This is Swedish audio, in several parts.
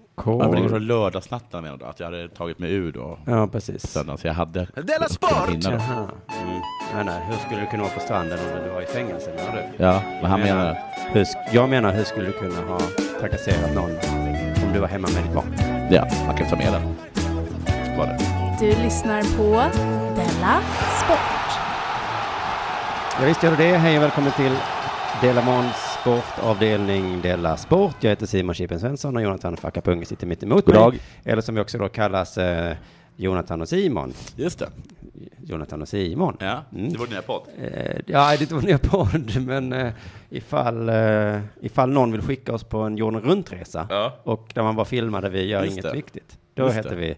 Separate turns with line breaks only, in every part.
Ja, för det
Hardcore.
går så lördagsnatten menar du? Att jag hade tagit mig ur då
Ja, precis.
söndagen, så jag hade...
Della Sport!
Innan då.
Jaha. Nej, nej. Mm. Hur skulle du kunna vara på stranden om du var i fängelse? Menar du?
Ja, men han
Jag
menar...
Hur, sk- jag menar, hur skulle du kunna ha trakasserat någon om du var hemma med ditt barn?
Ja, man kan ta med den. Var det.
Du lyssnar på Della Sport.
Ja, visst gör du det. Hej och välkommen till Dela Måns sportavdelning Dela Sport. Jag heter Simon Chippen Svensson och Jonathan Fackapung sitter mitt emot
God dag.
mig. Eller som vi också då kallas eh, Jonathan och Simon.
Just det.
Jonathan och Simon.
Ja,
Mm.
det var din nya podd.
Eh, ja, det var nya podd, men eh, ifall, eh, ifall någon vill skicka oss på en jorden runt-resa
Ja.
och där man bara filmar där vi gör
Just
inget
det.
viktigt, då
Just
heter
det.
vi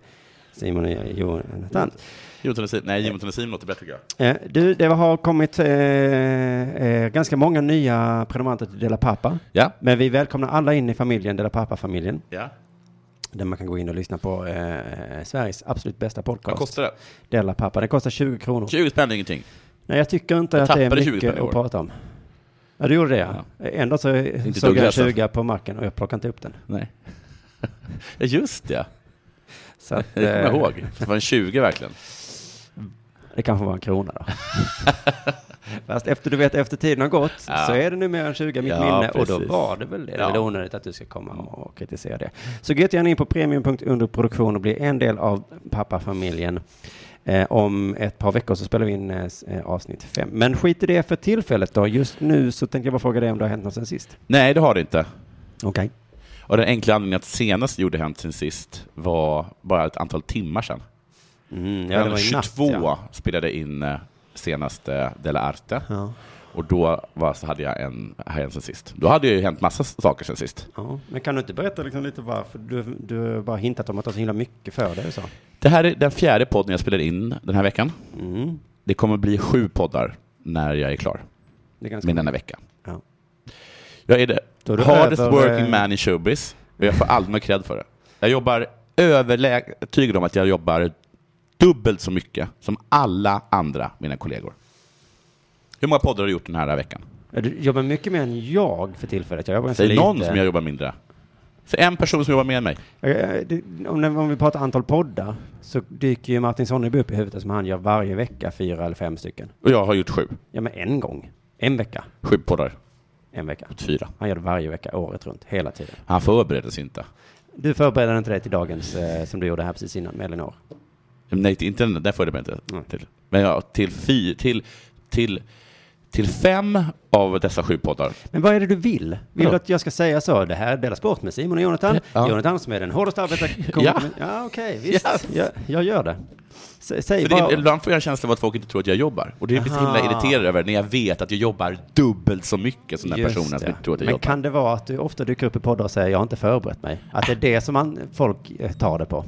Simon och Jonathan.
Jonathan och Simon. Nej, Jonathan och Simon låter bättre tycker jag.
Eh, du, det har kommit eh, eh, ganska många nya prenumeranter till Dela Pappa.
Ja.
Men vi välkomnar alla in i familjen, Dela Pappa-familjen,
Ja.
där man kan gå in och lyssna på eh, Sveriges absolut bästa
Vad
podcast.
kostar det?
Dela Pappa. Den kostar 20 kronor.
20 spänn är ingenting.
Nej, jag tycker inte
Jag
att det är
tappade 20
mycket
spänn i år.
att prata om. Ja, du gjorde det ja. Ändå så såg jag en
dugglösa.
20 på marken och jag plockade inte upp den.
Nej. ja, just det.
Så att,
Det kommer jag
eh,
ihåg. Det var en 20 verkligen.
Det kanske var en krona då. Fast efter, du vet, efter tiden har gått
Ja.
så är det nu mer än 20 i mitt
Ja,
minne och då
precis.
var det väl det. Det är
Ja.
väl onödigt att du ska komma och kritisera det. Så gå gärna in på premium.underproduktion och bli en del av pappafamiljen. Eh, om ett par veckor så spelar vi in eh, s- eh, avsnitt fem. Men skit i det för tillfället då. Just nu så tänkte jag bara fråga dig om det har hänt något sen sist.
Nej, det har det inte.
Okej.
Och den enkla anledningen att senast gjorde hänt sen sist var bara ett antal timmar sedan.
Mm, ja,
Ja,
det var i
22
natt, ja.
spelade in eh, senaste Dela Arte.
Ja.
Och då var, så hade jag en här sen sist. Då hade det ju hänt massa saker sen sist.
Ja, men kan du inte berätta liksom lite varför? Du, du har bara hintat om att du har så himla mycket för dig och så.
Det här är den fjärde podden jag spelar in den här veckan.
Mm.
Det kommer bli sju poddar när jag är klar
Det är ganska
med denna vecka.
Ja.
Jag är det
Då är du
hardest
över,
working
eh,
man i showbiz och jag får aldrig någon cred för det. Jag jobbar överläg- övertygad om att jag jobbar dubbelt så mycket som alla andra mina kollegor. Hur många poddar har du gjort den här veckan?
Ja, Du jobbar mycket mer än jag för tillfället. Jag jobbar ganska
Säg
lite.
någon som jag jobbar mindre. Säg en person som jobbar mer än mig.
Eh, det- om, om vi pratar antal poddar så dyker ju Martin Sonneby upp i huvudet som han gör varje vecka, fyra eller fem stycken.
Och jag har gjort sju.
Ja, men en gång. En vecka.
Sju poddar.
En vecka.
Fyra.
Han gör det varje vecka, året runt, hela tiden.
Han förbereder sig inte.
Du förbereder inte dig till dagens eh, som du gjorde här precis innan med Elinor.
Nej, till- inte den. Där får jag det mig
Nej.
inte till. Men ja, till, fy, till, till, till fem av dessa sju poddar.
Men vad är det du vill? Vill du
Vadå?
att jag ska säga så? Det här delas bort med Simon och Jonathan.
Ja.
Jonathan som är den hårdast arbetande.
Ja.
ja okej, visst.
Yes.
Jag, jag gör det. Sä- Säg
För det,
bara.
är- ibland får jag en känsla av att folk inte tror att jag jobbar. Och det blir så himla
Aha.
irriterad över när jag vet att jag jobbar dubbelt så mycket som den
Just
personen som
det.
inte tror att jag
Men
jobbar.
kan det vara att du ofta dyker upp i poddar och säger jag har inte förberett mig? Att det är det som man, folk eh, tar det på.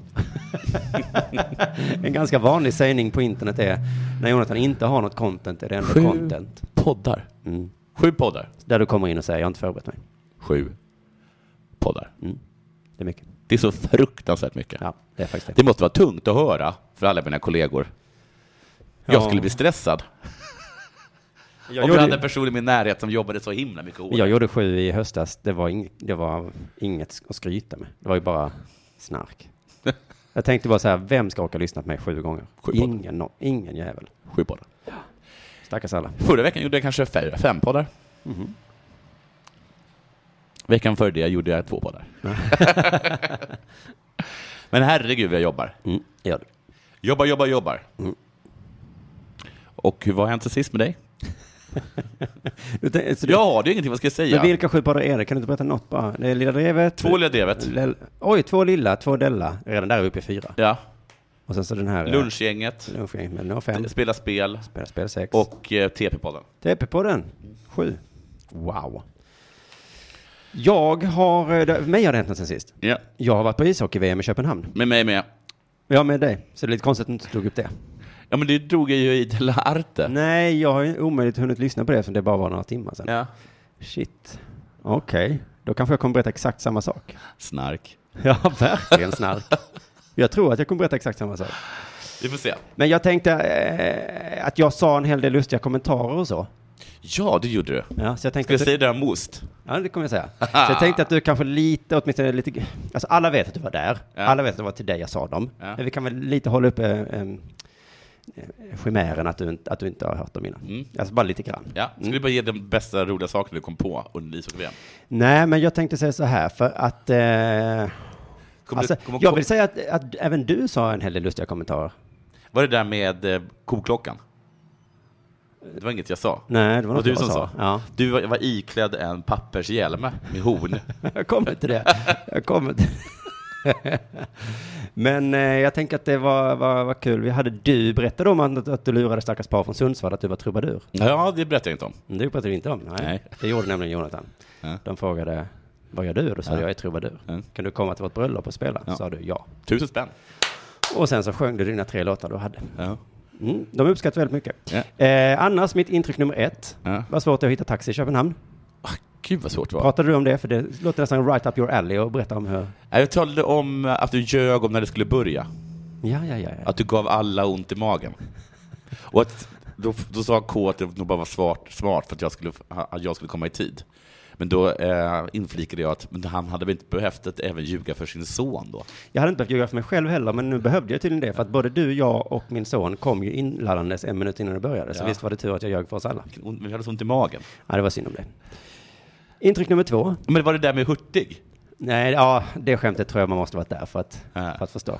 en ganska vanlig sägning på internet är när Jonathan inte har något content är det ändå
Sju.
content.
Poddar.
Mm.
Sju poddar.
Där du kommer in och säger jag har inte förberett mig.
Sju poddar.
Det är mycket.
Det är så fruktansvärt mycket.
Ja, det är faktiskt det.
Det måste vara tungt att höra för alla mina kollegor. Jag skulle bli stressad.
jag,
Om jag hade en
gjorde,
person i min närhet som jobbade så himla mycket hårt.
jag gjorde sju i höstas. Det var, ing, det var inget sk- att skryta med. Det var ju bara snark. Jag tänkte bara så här, vem ska orka lyssna på mig sju gånger?
Sju poddar.
ingen, no, ingen jävel.
Sju poddar.
Stackars alla.
Förra veckan gjorde jag kanske fyra, fem poddar.
Mhm.
Veckan före det gjorde jag två poddar. Men herregud vad jag jobbar.
Mm, gör du.
Jobbar, jobbar, jobbar.
Mm.
Och hur- vad har hänt sen sist med dig?
Du tän- så du-
Ja, det är ingenting, vad ska jag säga?
Men vilka sju poddar är det? Kan du inte berätta något bara? Det är Lilla Drevet.
Två Lilla Drevet.
Lel- Oj, två Lilla, två Della. Redan där är vi uppe i fyra.
Ja.
Och sen så den här... eh,
Lunchgänget,
Lunchgäng med Nå fem.
Spela spel
Spela spel sex.
och eh, TP-podden.
TP-podden. Sju. Wow. Jag har... eh, det- Mig har det hänt något sen sist.
Ja.
Jag har varit på ishockey-VM i Köpenhamn.
Med mig med.
Ja, med dig. Så det är lite konstigt att du inte tog upp det.
Ja, men det drog jag ju i Dela Arte.
Nej, jag har ju omöjligt hunnit lyssna på det eftersom det bara var några timmar sedan.
Ja.
Shit. Okej. Då kanske jag kommer berätta exakt samma sak.
Snark.
Ja, verkligen snark. Jag tror att jag kommer berätta exakt samma sak.
Vi får se.
Men jag tänkte eh, att jag sa en hel del lustiga kommentarer och så.
Ja, det gjorde du.
Ja, så jag
Ska
tänkte
jag
att du,
säga det här most?
ja, det kommer jag säga. Så jag tänkte att du kanske lite, åtminstone lite, alltså alla vet att du var där.
Ja.
Alla vet att det var till dig jag sa dem.
Ja.
Men vi kan väl lite hålla upp äh, chimären att du, inte- att du inte har hört dem innan. Alltså bara lite grann.
Mm. Ja, ska du bara ge den bästa roliga saken du kom på under ishockey-VM?
Nej, men jag tänkte säga så här för att... Eh,
Kommer
alltså,
du- kommer-
jag vill säga att, att även du sa en hel del lustiga kommentarer.
Var det där med eh, koklockan? Det var inget jag sa.
Nej, det var
Det
något
var du
jag
som sa.
sa. Ja.
Du var, var iklädd en pappershjälm med horn.
Jag kommer till det. Jag kommer till Men eh, jag tänker att det var, var, var kul. Vi hade du berättade om att, att du lurade stackars par från Sundsvall att du var trubadur.
ja, det berättade jag inte om.
Men Det pratade vi inte om. Nej.
Nej.
Det gjorde nämligen Jonathan.
Ja.
De frågade vad gör du? Och Då sa
Ja.
jag jag är trubadur.
Ja.
Kan du komma till vårt bröllop och spela?
Ja.
Sa du ja.
Tusen spänn.
Och sen så sjöng du dina tre låtar du hade.
Ja.
Mm, de uppskattar väldigt mycket.
Ja.
Eh, annars, mitt intryck nummer ett
Ja.
var svårt att hitta taxi i Köpenhamn.
Ah, gud vad svårt det var.
Pratade du om det? För det låter nästan right up your alley och berätta om hur...
Nej, Jag talade om att du ljög om när det skulle börja.
Ja, ja, ja. ja.
Att du gav alla ont i magen. Och att, då, då sa K att det nog bara var smart, smart för att jag skulle, att jag skulle komma i tid. Men då eh, inflikade jag att men han hade väl inte behövt att även ljuga för sin son då?
Jag hade inte behövt ljuga för mig själv heller, men nu behövde jag tydligen det. För att både du, jag och min son kom ju inladdandes en minut innan det började. Så
Ja.
visst var det tur att jag ljög för oss alla.
Vilken ont- Vi hade så ont i magen.
Ja, det var synd om det. Intryck nummer två.
Men var det där med hurtig? Äh,
Nej, ja, det skämtet tror jag man måste varit där för att,
Ja.
för att förstå.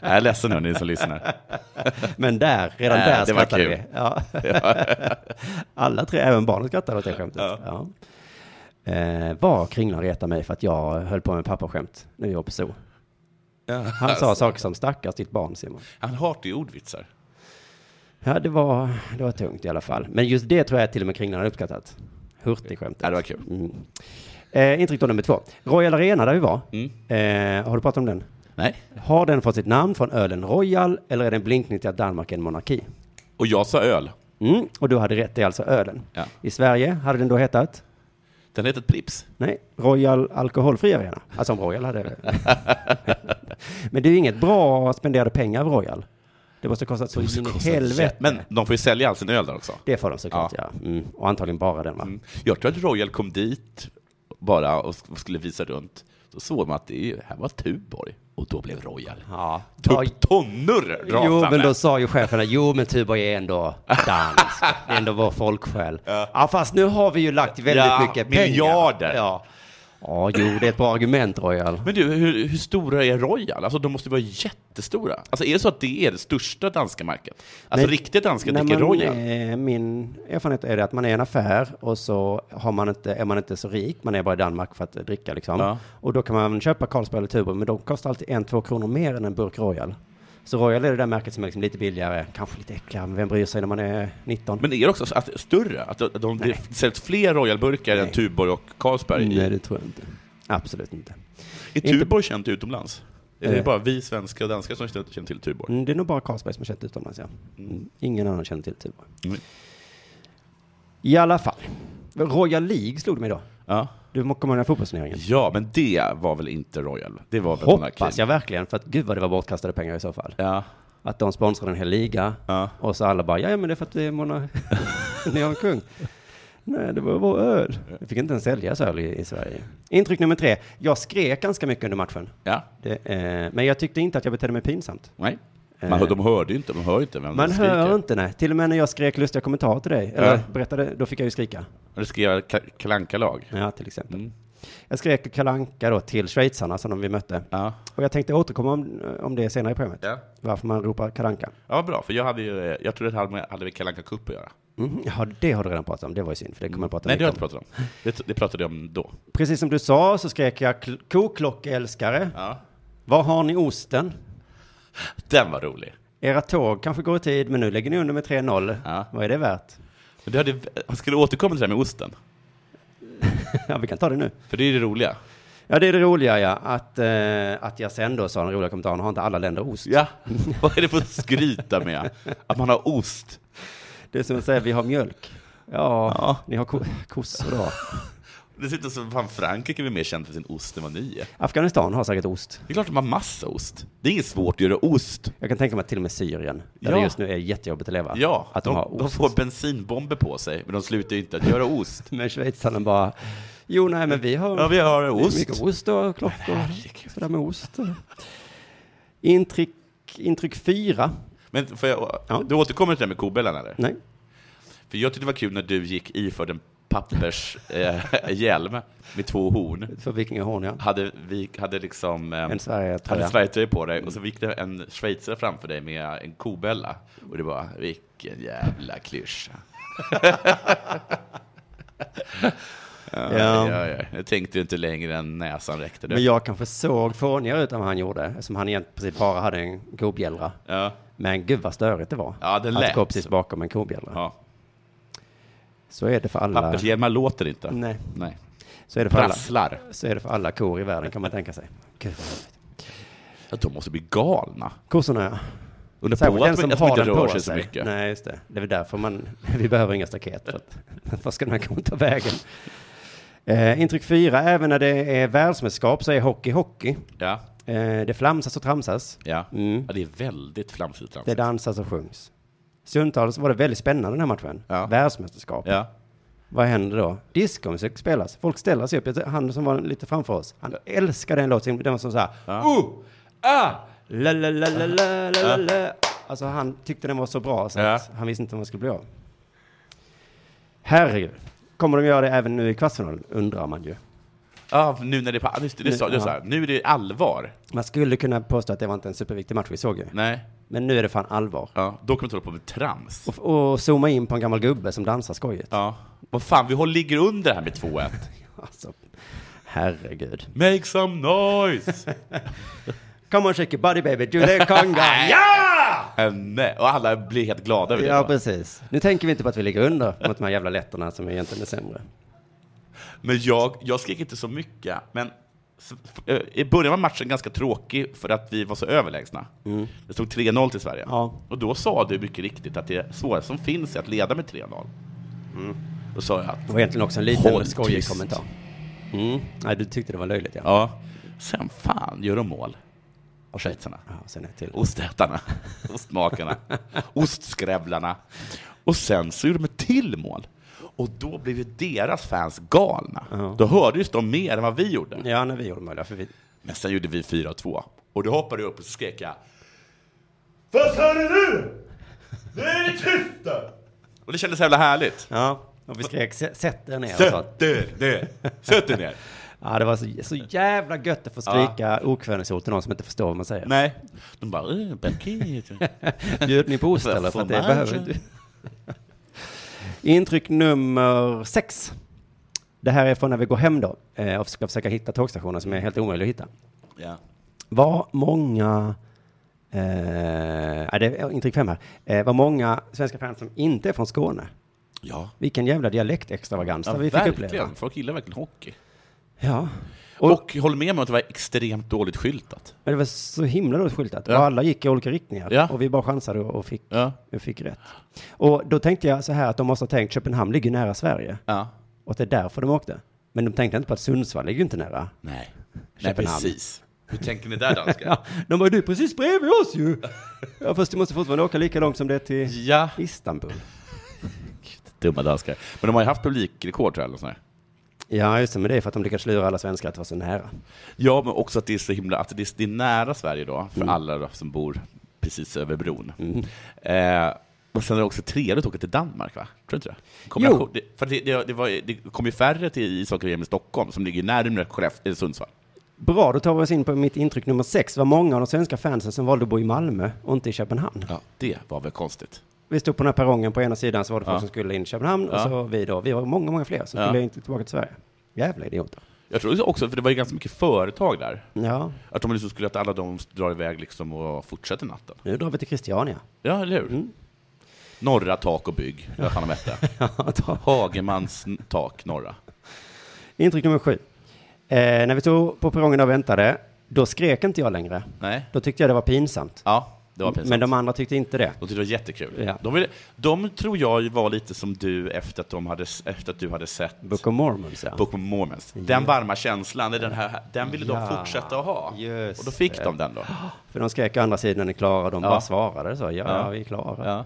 Jag är ledsen nu, ni som lyssnar.
Men där, redan
Ja,
där
det var
skrattade
kul.
vi. Ja. Alla tre, även barnet skrattade åt det skämtet.
Ja.
Ja. Eh, var Kringlan retade mig för att jag höll på med pappaskämt när vi var på zoo. Han sa saker som stackars ditt barn Simon.
Han hatar ju ordvitsar.
Ja, det var, det var tungt i alla fall. Men just det tror jag till och med Kringlan har uppskattat. Hurtigskämtet.
Ja, det var kul.
Mm. Eh, intryck då nummer två. Royal Arena där vi var.
Mm.
Eh, har du pratat om den?
Nej.
Har den fått sitt namn från ölen Royal eller är den blinkning till att Danmark är en monarki?
Och jag sa öl.
Mm, och du hade rätt, det är alltså ölen.
Ja.
I Sverige hade den då hetat?
Den heter Prips.
Nej, Royal Alkoholfri Arena. Alltså om Royal hade... Men det är ju inget bra spenderade pengar av Royal. Det måste kosta så in i helvete.
Men de får ju sälja all sin öl där också.
Det får de såklart, ja. Mm. Och antagligen bara den, va?
Mm. Jag tror att Royal kom dit bara och sk- skulle visa runt. Då såg man att det är- här var Tuborg och då blev Royal.
Ja. Ja,
Typ tonnor rasande.
Jo, men då sa ju cheferna, jo, men Tuborg är ändå dansk, det är ändå vår folksjäl. Ja. fast nu har vi ju lagt väldigt
Ja,
mycket pengar.
miljarder.
Ja. ja, jo, det är ett bra argument, Royal.
Men du, hur, hur stora är Royal? Alltså de måste ju vara jättestora. Alltså är det så att det är det största danska märket? Alltså
Nej,
riktiga danska
när
dricker
man,
Royal?
eh, Min erfarenhet är det att man är en affär och så har man inte, är man inte så rik, man är bara i Danmark för att eh, dricka liksom.
Ja.
Och då kan man köpa Carlsberg eller Tuborg, men de kostar alltid en, två kronor mer än en burk Royal. Så Royal är det där märket som är liksom lite billigare, kanske lite äckligare, men vem bryr sig när man är 19?
Men är det också så att, större? Att de- de det säljs fler Royal-burkar än
Nej.
Tuborg och Carlsberg? i-
det tror jag inte. Absolut inte.
Är
Inte-
Tuborg känt utomlands? Eller är det
Eh.
bara vi svenskar och danskar som känner känner till Tuborg?
Mm, Det är nog bara Carlsberg som känt utomlands, ja. Mm. Ingen annan känner till Tuborg.
Mm.
I alla fall. Royal League slog mig då.
Ja.
Du må- kommer ihåg den här fotbollsturneringen?
ja, men det var väl inte Royal? Det var väl
Hoppas
monarkin?
jag verkligen, för att gud vad det var bortkastade pengar i så fall.
Ja.
Att de sponsrade en hel liga
Ja.
och så alla bara, ja men det är för att det är mona... ni har en kung. Nej, det var vår öl. Vi fick inte ens säljas öl i, i Sverige. Intryck nummer tre, jag skrek ganska mycket under matchen.
ja.
Det, eh, men jag tyckte inte att jag betedde mig pinsamt.
Nej.
Eh.
Man, hör- de hörde ju inte, de hör ju inte vem
Man
som skriker.
hör inte, nej. Till och med när jag skrek lustiga kommentarer till dig, eller
Ja.
berättade, då fick jag ju skrika.
Det skrev Ka- kalankalag.
Ja, till exempel.
Mm.
Jag skrek kalanka då till schweizarna som de vi mötte.
Ja.
Och jag tänkte återkomma om, om det senare i programmet.
Ja.
Varför man ropar kalanka.
ja, vad bra, för jag hade ju, eh, jag trodde det hade med, hade med Kalanka Cup att göra.
Mm, ja, det har du redan pratat om. Det var ju synd, för det kommer jag prata
Nej, det har jag
mycket
inte
om.
pratat om. Det, det pratade jag om då.
Precis som du sa så skrek jag kl- koklockälskare.
Ja.
Var har ni osten?
Den var rolig.
Era tåg kanske går i tid, men nu lägger ni under med 3-0.
Ja.
Vad är det värt?
Men du hade, jag skulle återkomma till det här med osten,
ja, vi kan ta det nu.
för det är det roliga.
Ja, det är det roliga, ja. Att, eh, att jag sen då sa den roliga kommentaren, har inte alla länder ost?
Ja, vad är det för att skryta med? Att man har ost?
Det är som att säga, vi har mjölk. Ja,
Ja.
ni har ko- kossor då.
Dessutom så fan Frankrike är väl mer känt för sin ost än vad ni är.
Afghanistan har säkert ost.
Det är klart de har massa ost. Det är inget svårt att göra ost.
Jag kan tänka mig att till och med Syrien, där
Ja.
det just nu är jättejobbigt att leva,
Ja,
att de,
de,
har
de
ost.
får bensinbomber på sig, men de slutar ju inte att göra ost.
Men schweizarna bara, jo nej men vi har,
Ja, vi har
det är
ost.
mycket ost och klockor, sådär med ost. Intryck, intryck fyra,
Men får jag,
Ja.
du återkommer till det här med kobällan eller?
nej,
För jag tyckte det var kul när du gick iförd en pappershjälm eh, hjälm med två horn.
för vikingahorn ja.
Hade, vi, hade liksom... Eh,
En Sverige-tröja.
hade Sverigetröja på dig och så gick det en schweizare framför dig med en kobälla. Och det var vilken jävla klyscha. ja,
Ja.
ja. Ja, Jag tänkte ju inte längre än näsan räckte.
Men
Du.
jag kanske såg fånigare ut än vad han gjorde, som han egentligen precis bara hade en kobjällra.
Ja,
Men gud vad störigt det var.
Ja, det
att
lät
gå precis
så.
bakom en kobjällra.
ja.
Så är det för alla.
Pappershjälmar låter inte.
Nej,
Nej.
så är det för alla.
Prasslar.
Så är det för alla kor i världen kan man tänka sig. Gud. vad roligt.
Ja, de måste bli galna.
Kossorna ja.
Under på
Särskilt
att,
den som
de- att de
har
inte
den på
rör
sig.
sig så mycket.
Nej, just det. Det är väl därför man, vi behöver inga staket. För att, vad ska den här kon ta vägen? Eh, intryck fyra, även när det är världsmästerskap så är hockey hockey.
Ja,
Eh, det flamsas och tramsas.
ja.
Mm.
ja, det är väldigt flamsigt.
Det dansas och sjungs. Stundtals var det väldigt spännande den här matchen.
Ja.
Världsmästerskap.
Ja.
Vad händer då? Discomusik spelas. Folk ställer sig upp. Jag tror- Han som var lite framför oss, han älskade den låten. Den var som så här. Uh, ah, la, la, la, la, la, la, la, la. Alltså han tyckte den var så bra så att
Ja.
han visste inte vad man skulle bli av. Herregud. Kommer de göra det även nu i kvartsfinalen? Undrar man ju.
Ja, nu när det är på... Just det, det sa du.
Ja.
sa- Nu är det allvar.
Man skulle kunna påstå att det var inte en superviktig match vi såg ju.
Nej.
Men nu är det fan allvar.
Ja, då kommer vi hålla på med trams.
Och, och zooma in på en gammal gubbe som dansar skojigt.
Ja. Vad fan, vi håller- ligger under här med 2-1.
Alltså, herregud.
Make some noise!
Come on shake your body baby, do the conga.
ja! Äh, Nej. Och alla blir helt glada över det.
Ja,
va?
precis. Nu tänker vi inte på att vi ligger under mot de här jävla letterna som egentligen är sämre.
Men jag, jag skrek inte så mycket. Men s- f- eh, i början var matchen ganska tråkig för att vi var så överlägsna. Det stod 3-0 till Sverige.
Ja.
Och då sa du mycket riktigt att det svåraste som finns är att leda med 3-0. Då sa jag att...
Det var egentligen också en liten
Håll
skojig
tyst.
kommentar. Mm. Nej, du tyckte det var löjligt, ja.
Ja, sen fan gör de mål. Och schweizarna.
ja sen är det till.
Ostätarna. Ostmakarna. Ostskrävlarna. Och sen så gjorde de ett till mål. Och då blev ju deras fans galna. Då hördes de mer än vad vi gjorde.
Ja, när vi gjorde möjliga, för vi...
Men sen gjorde vi 4-2. Och då hoppade jag upp och så skrek jag Vad hör ni nu? Nu är det tyst där! Och det kändes så jävla härligt.
Ja, och vi skrek "Sä- sätt er ner och sånt.
Sätt er ner! Sätt er ner!
Ja, det var så, så jävla gött att få skrika okvädningsord till någon som inte förstår vad man säger.
Nej. De bara, "Eh, parkett."
Bjöd ni på ost eller? För att det behöver du. Intryck nummer sex. Det här är från när vi går hem då eh, och ska försöka hitta tågstationer som är helt omöjliga att hitta.
Ja.
Vad många, eh, ja, det är intryck fem här, eh, vad många svenska fans som inte är från Skåne.
Ja.
Vilken jävla dialektextravagans
ja
där vi fick
verkligen.
uppleva.
Folk gillar verkligen hockey.
Ja,
Och,
och
håller håll med mig om att det var extremt dåligt skyltat.
men det var så himla dåligt skyltat.
Ja.
Och alla gick i olika riktningar.
Ja.
Och vi bara chansade och och fick,
Ja.
och fick rätt. Och då tänkte jag så här att de måste ha tänkt, Köpenhamn ligger ju nära Sverige.
Ja.
Och att det är därför de åkte. Men de tänkte inte på att Sundsvall ligger ju inte nära.
Nej. Nej,
Köpenhamn.
precis. Hur tänker ni där, danskar?
Ja, de var ju "Du är precis bredvid oss ju. ja, fast du måste fortfarande åka lika långt som det är till
ja.
Istanbul.
Dumma danskar. Men de har ju haft publikrekord, tror jag. Eller sånt där.
Ja, just det, men det är för att de lyckas lura alla svenskar att vara så nära.
Ja, men också att det är så himla, att det är, det är nära Sverige då,
Mm.
för alla då, som bor precis över bron. Eh, och sen är det också trevligt att åka till Danmark, va? Tror du inte det? Kommer
Jo.
jag ihåg- det, för det, det, det, var, det kom ju färre till ishockey i Stockholm, som ligger närmare Skellefteå, eh, Sundsvall.
Bra, då tar vi oss in på mitt intryck nummer sex. Det var många av de svenska fansen som valde att bo i Malmö och inte i Köpenhamn.
Ja. Det var väl konstigt?
Vi stod på den här perrongen på ena sidan så var det folk
Ja.
som skulle in i Köpenhamn och
Ja.
så vi då. Vi var många, många fler som
Ja.
skulle inte tillbaka till Sverige. Jävla idioter.
Jag tror också, för det var ju ganska mycket företag där,
Ja,
att de liksom skulle att alla de drar iväg liksom och fortsätter natten.
nu drar vi till Christiania.
Ja, eller hur?
Mm.
Norra tak och bygg, eller vad fan de hette.
Ta-
Hagemans tak, norra.
intryck nummer sju. Eh, när vi stod på perrongen och väntade, då skrek inte jag längre.
Nej?
Då tyckte jag det var pinsamt.
Ja. Det var pinsamt.
Men de andra tyckte inte det.
De tyckte det var jättekul.
Ja.
De, ville, de tror jag var lite som du efter att, de hade, efter att du hade sett
Book of Mormons, ja.
Book of Mormons. Den varma känslan, i den, här, den ville de
Ja.
fortsätta att ha.
Just
Och då fick
det.
de den då.
För de skrek å andra sidan är klara, de
Ja.
bara svarade så. Ja,
Ja.
vi är klara.
Ja.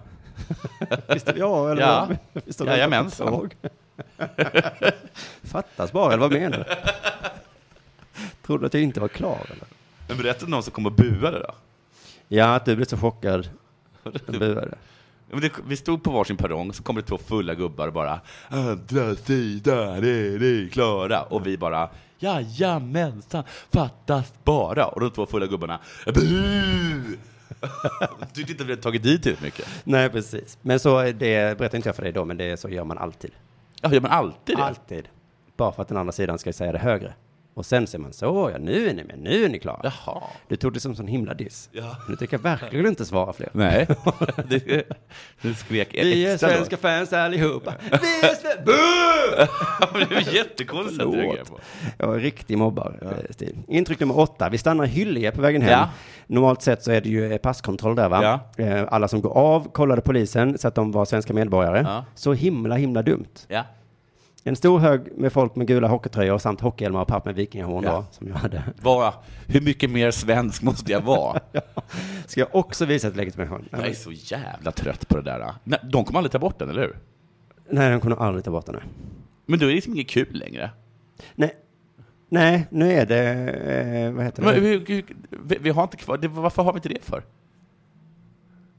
Visst är vi- ja, eller
Ja.
vad? Visst har
Jajamensan.
vi inte ihåg? Fattas bara, eller vad menar du? Trodde du att jag inte var klar, eller?
Men berätta någon som kom och buade då.
Ja, att du blev så chockad. Jag buade.
Men det, vi stod på varsin perrong, så kommer det två fulla gubbar och bara ”Andra sidan är ni klara” och vi bara ”Jajamensan, fattas bara” och de två fulla gubbarna ”Bu!” Tyckte inte vi hade tagit dit ut mycket.
Nej, precis. Men så, är det berättar inte jag för dig då, men det är så gör man alltid.
Ja, gör man alltid det?
Alltid. Bara för att den andra sidan ska säga det högre. Och sen ser man så, ja nu är ni med, nu är ni klara.
Jaha.
Du tog det som sån himla diss.
Ja.
Nu tänker jag verkligen inte svara fler.
Nej. Det, det skrek
Vi är
extra då.
svenska fans allihopa. Vi är svenska...
Ja, men Det var jättekonstigt. att reagera på.
Jag är riktig mobbarstil. Intryck nummer åtta. Vi stannar i Hyllie på vägen hem.
Ja.
Normalt sett så är det ju eh, passkontroll där va? Eh, Alla som går av kollade polisen så att de var svenska medborgare.
Ja.
Så himla himla dumt.
Ja.
En stor hög med folk med gula hockeytröjor samt hockeyhjälmar och papp med vikingahorn
Ja.
då, som jag hade.
Vad- hur mycket mer svensk måste jag vara?
Ska jag också visa ett legitimation?
Jag är så jävla trött på det där. Nej, De kommer aldrig ta bort den, eller hur?
Nej, de kommer nog aldrig ta bort den. här.
Men då är det liksom inget kul längre.
Nej. Nej, nu är det, eh, vad heter
Men
det?
hur, hur, vi, vi har inte kvar, det, varför har vi inte det för?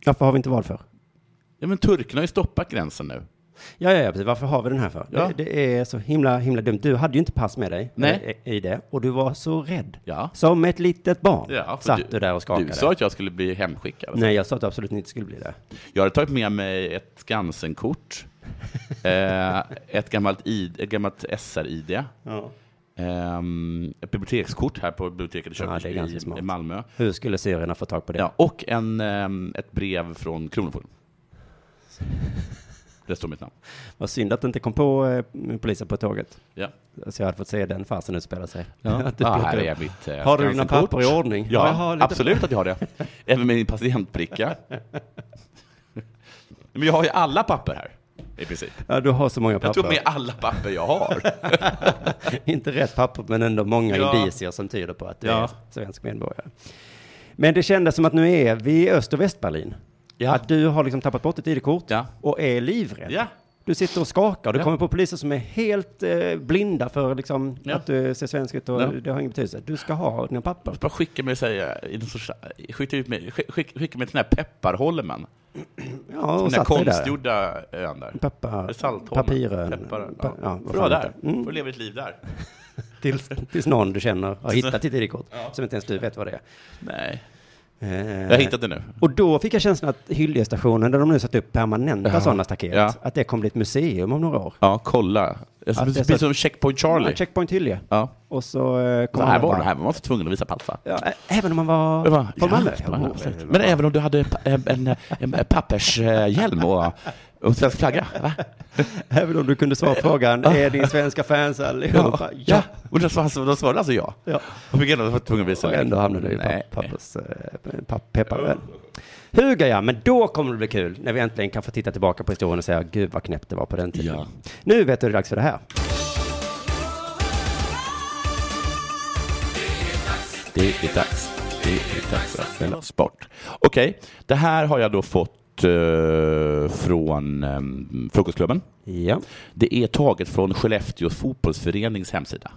Varför har vi inte val för?
Ja, men turkarna har ju stoppat gränsen nu.
Ja, ja, ja, precis. Varför har vi den här för?
Ja.
Det, det är så himla, himla dumt. Du hade ju inte pass med dig
Nej.
eh, i det och du var så rädd.
Ja.
Som ett litet barn
Ja, för
satt du, där och skakade.
Du sa att jag skulle bli hemskickad.
Nej, jag sa att du absolut inte skulle bli det.
Jag hade tagit med mig ett Skansen-kort, eh, ett gammalt, ID, ett gammalt SR-ID,
Ja.
ehm, ett bibliotekskort här på biblioteket i,
Ja,
Köping,
det är ganska
i,
smart.
i Malmö.
Hur skulle syrierna få tag på det?
Ja, och en, ehm, ett brev från Kronofogden. Det står mitt namn.
Vad synd att du inte kom på eh, polisen på tåget.
Ja.
Så jag hade fått se den farsen utspela sig. Att du
ah,
plockar
här
upp.
är mitt eh,
Har du dina
Skansen-kort.
papper i ordning?
Ja,
jag har lite-
absolut att jag har det. Även min patientbricka. Men jag har ju alla papper här, i princip.
Ja, du har så många
Jag
papper.
tog med alla papper jag har.
Inte rätt papper, men ändå många
Ja.
indicier som tyder på att du
Ja.
är svensk medborgare. Men det kändes som att nu är vi i Öst och Västberlin.
Ja.
Att du har liksom tappat bort ditt ID-kort
Ja.
och är livrädd.
Ja.
Du sitter och skakar. Du
Ja.
kommer på poliser som är helt eh, blinda för liksom,
Ja.
att du ser svensk ut och
Ja.
det har ingen betydelse. Du ska ha dina papper.
Bara skicka mig, säga, i någon sorts, skicka, ut mig, skick- skick, skicka mig till den här Pepparholmen.
Ja, och
Den här
satt dig där.
konstgjorda ön där.
Pappa,
Saltholmen.
papirön.
Pepparön.
Pa- ja,
Ja.
vad
Bra
fan
där.
heter det? Mm.
Får leva ett liv där.
Tills, tills någon du känner har hittat ditt ID-kort som inte ens du vet vad det är.
Nej,
Eh,
jag har hittat det nu.
Och då fick jag känslan att Hyllestationen, där de nu satt upp permanenta
Ja.
sådana staket,
Ja.
att det kommer bli ett museum om några år.
Ja, kolla. Det
Att det
är
är så-
som Checkpoint Charlie.
Ja, checkpoint Hyllie.
Ja.
Och så eh, kom
Så här
alla
var
bara-
det. Här var man inte tvungen att visa pass, va?
Ja, ä- även om man var
Jag bara,
från
ja,
Malmö.
ja, absolut. men även om du hade pa- en, en, en pappershjälm och, och svensk flagga? Va?
Även om du kunde svara på frågan, är din svenska fans allihopa?
ja. Och då svarade, då svarade alltså jag.
Ja.
Och fick ändå vara tvungen att visa
Så ändå hamnade du i
Nej.
papp- pappers, eh, papp, pepparön. Huga ja, men då kommer det bli kul när vi äntligen kan få titta tillbaka på historien och säga gud vad knäppt det var på den tiden.
Ja.
Nu vet du det är dags för det här.
Det är dags. Det är dags att spela sport. Okej, det här har jag då fått eh, från eh, Frukostklubben.
Ja.
Det är taget från Skellefteå fotbollsförenings hemsida.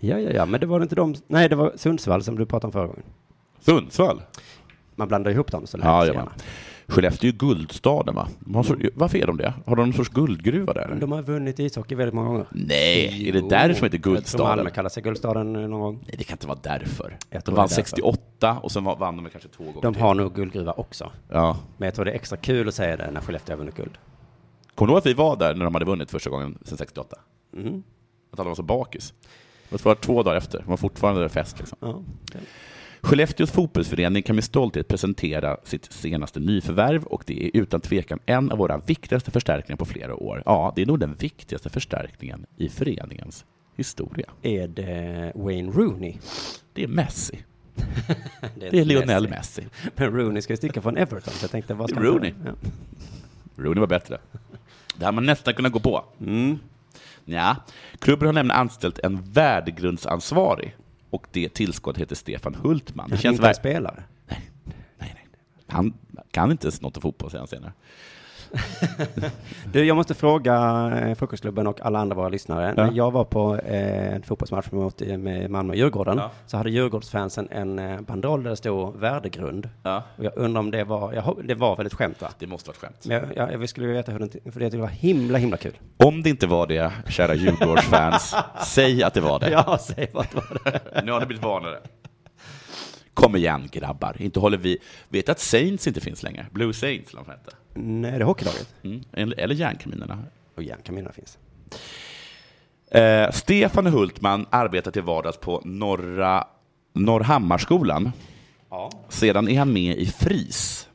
ja, ja, ja, men det var inte de, nej det var Sundsvall som du pratade om förra gången.
Sundsvall?
Man blandar ihop dem så lätt.
Ja,
så
jajamän.
gärna.
Skellefteå är ju guldstaden, va? De har
Mm.
så, varför är de det? Har de någon sorts guldgruva där? eller?
De har vunnit ishockey väldigt många gånger.
Nej, är det därför som heter
Jag tror
Guldstaden?
Malmö kallar sig Guldstaden eh, någon gång.
Nej, det kan inte vara därför.
Jag
De
tror
vann
det är därför.
68 och sen va- vann de kanske två gånger
De
till.
har nog guldgruva också.
Ja.
Men jag tror det är extra kul att säga det när Skellefteå har vunnit guld.
Kommer du ihåg att vi var där när de hade vunnit första gången sen 68?
Mm.
Att alla var så bakis. Det var två dagar efter. De var fortfarande fest. Liksom.
Ja.
Skellefteås fotbollsförening kan med stolthet presentera sitt senaste nyförvärv och det är utan tvekan en av våra viktigaste förstärkningar på flera år. Ja, det är nog den viktigaste förstärkningen i föreningens historia.
Är det Wayne Rooney?
Det är Messi. Det är Lionel Messi.
Men Rooney ska ju sticka från Everton, så jag tänkte vad ska han
Rooney.
ta? Ja.
Rooney var bättre. Det hade man nästan kunnat gå på. Nja, klubben har nämligen anställt en värdegrundsansvarig och det tillskottet heter Stefan Hultman. Det
Han är
känns
inte en
väl...
spelare.
Nej, nej. Han kan inte ens något om fotboll, säger han senare.
Du, jag måste fråga eh, Frukostklubben och alla andra våra lyssnare.
Ja.
När jag var på eh, en fotbollsmatch mot eh, med Malmö och Djurgården
Ja.
så hade Djurgårdsfansen en eh, banderoll där det stod värdegrund.
Ja.
Och jag undrar om det var, jag, ho- det var väl ett skämt va?
Det måste vara ett skämt.
Men jag, jag, jag skulle vilja veta hur den, för det var himla, himla kul.
Om det inte var det, kära Djurgårdsfans, säg att det var det.
Ja, säg vad det var det.
Nu har ni blivit vanare. Kom igen, grabbar. Inte håller vi... Vet att Saints inte finns längre? Blue Saints, eller vad de hette.
Nej, det är hockeylaget.
Mm. Eller eller Järnkaminerna.
Och järnkaminerna finns.
Eh, Stefan Hultman arbetar till vardags på Norra Norrhammarskolan.
Ja.
Sedan är han med i FRIS.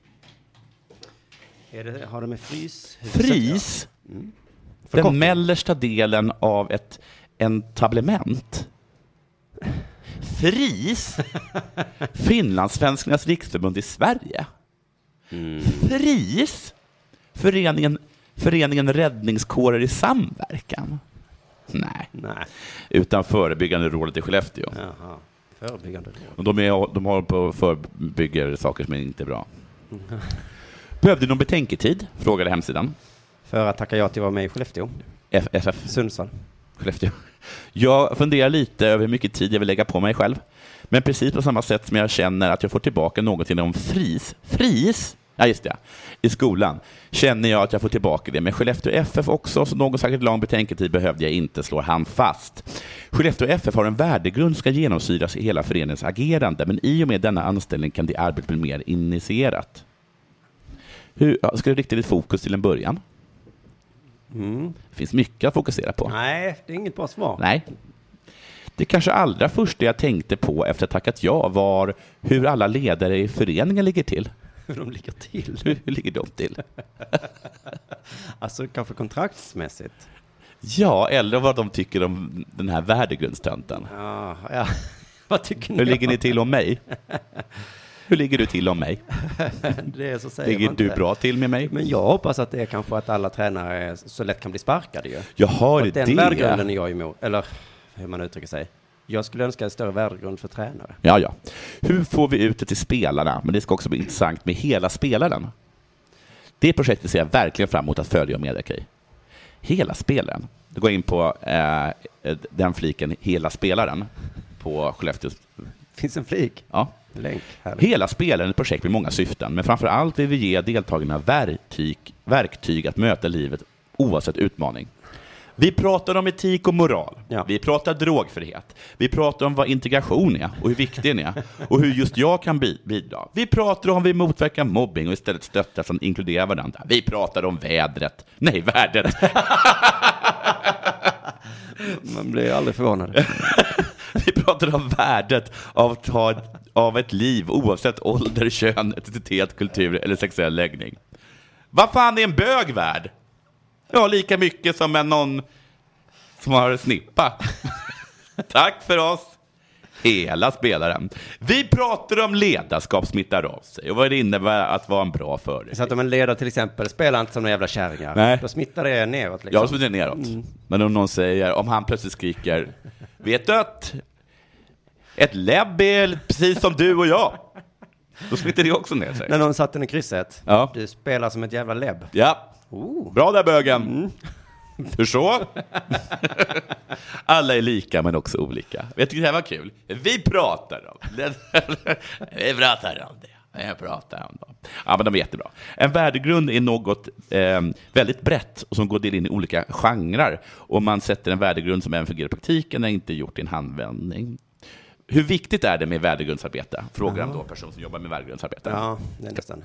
Är det, har de med frys?
FRIS, den mellersta delen av ett entablement. FRIS, Finlandssvenskarnas riksförbund i Sverige. FRIS, föreningen, föreningen Räddningskårer i samverkan. Nej,
Nej.
utan Förebyggande rådet i Skellefteå.
Jaha. Förebyggande råd.
Och de, är, de håller på och förebygger saker som inte är bra. Behövde någon betänketid? Frågade hemsidan.
För att tacka ja till att vara med i Skellefteå.
F- FF
Sundsvall.
Skellefteå. Jag funderar lite över hur mycket tid jag vill lägga på mig själv. Men precis på samma sätt som jag känner att jag får tillbaka någonting om FRIS, FRIS? Ja, just det. I skolan känner jag att jag får tillbaka det. Men Skellefteå FF också, så någon särskilt lång betänketid behövde jag inte, slår han fast. Skellefteå FF har en värdegrund som ska genomsyras i hela föreningens agerande, men i och med denna anställning kan det arbetet bli mer initierat. Hur, ja, ska du rikta ditt fokus till en början? Det finns mycket att fokusera på.
Nej, det är inget bra svar.
Nej. Det kanske allra första jag tänkte på efter att ha tackat ja var hur alla ledare i föreningen ligger till.
Hur de ligger till.
Hur, hur ligger de till?
Alltså kanske kontraktsmässigt.
Ja, eller vad de tycker om den här värdegrundstönten.
Ja, ja. Vad tycker ni?
Hur ligger ni till om mig? Hur ligger du till om mig?
Det är så säger
Ligger
man
du
inte.
bra till med mig?
Men jag hoppas att det är kanske att alla tränare så lätt kan bli sparkade ju.
Jaha,
Och
det
den värdegrunden
det?
är jag emot, eller hur man uttrycker sig. Jag skulle önska en större värdegrund för tränare.
Ja, ja. Hur får vi ut det till spelarna? Men det ska också bli intressant med hela spelaren. Det projektet ser jag verkligen fram emot att följa och medverka i. Hela spelaren. Då går jag in på eh, den fliken, hela spelaren, på Skellefteå.
Finns en flik,
Ja.
länk, härligt.
Hela spelaren är ett projekt med många syften, men framför allt vill vi ge deltagarna verktyg, verktyg att möta livet oavsett utmaning. Vi pratar om etik och moral.
Ja.
Vi pratar drogfrihet. Vi pratar om vad integration är och hur viktig den är och hur just jag kan bi- bidra. Vi pratar om vi motverkar mobbing och istället stöttar och inkluderar varandra. Vi pratar om vädret. Nej, värdet.
Man blir aldrig förvånad.
Vi pratar om värdet av att ha ett, av ett liv oavsett ålder, kön, etnicitet, kultur eller sexuell läggning. Vad fan är en bög värd? Ja, lika mycket som en någon som har snippa. Tack för oss. Hela spelaren. Vi pratar om ledarskap smittar av sig och vad det innebär att vara en bra förebild.
Så att om en ledare till exempel spelar inte som några jävla kärringar,
Nej.
då smittar det neråt
Jag
liksom.
har smitit neråt. Men om någon säger, om han plötsligt skriker, vet du att ett lebb är precis som du och jag? Då smiter det också ner sig.
När någon satte den i krysset,
Ja.
du spelar som ett jävla lebb.
Ja,
Oh.
bra där bögen. Hur så? Alla är lika men också olika. Jag tycker det här var kul. Vi pratar om det. Vi pratar om det. Jag pratar om dem. Ja, men de är jättebra. En värdegrund är något eh, väldigt brett och som går del in i olika genrer. Och man sätter en värdegrund som även fungerar i praktiken, är inte gjort i en handvändning. Hur viktigt är det med värdegrundsarbete? Frågar han då en person som jobbar med värdegrundsarbete.
Ja, det är nästan.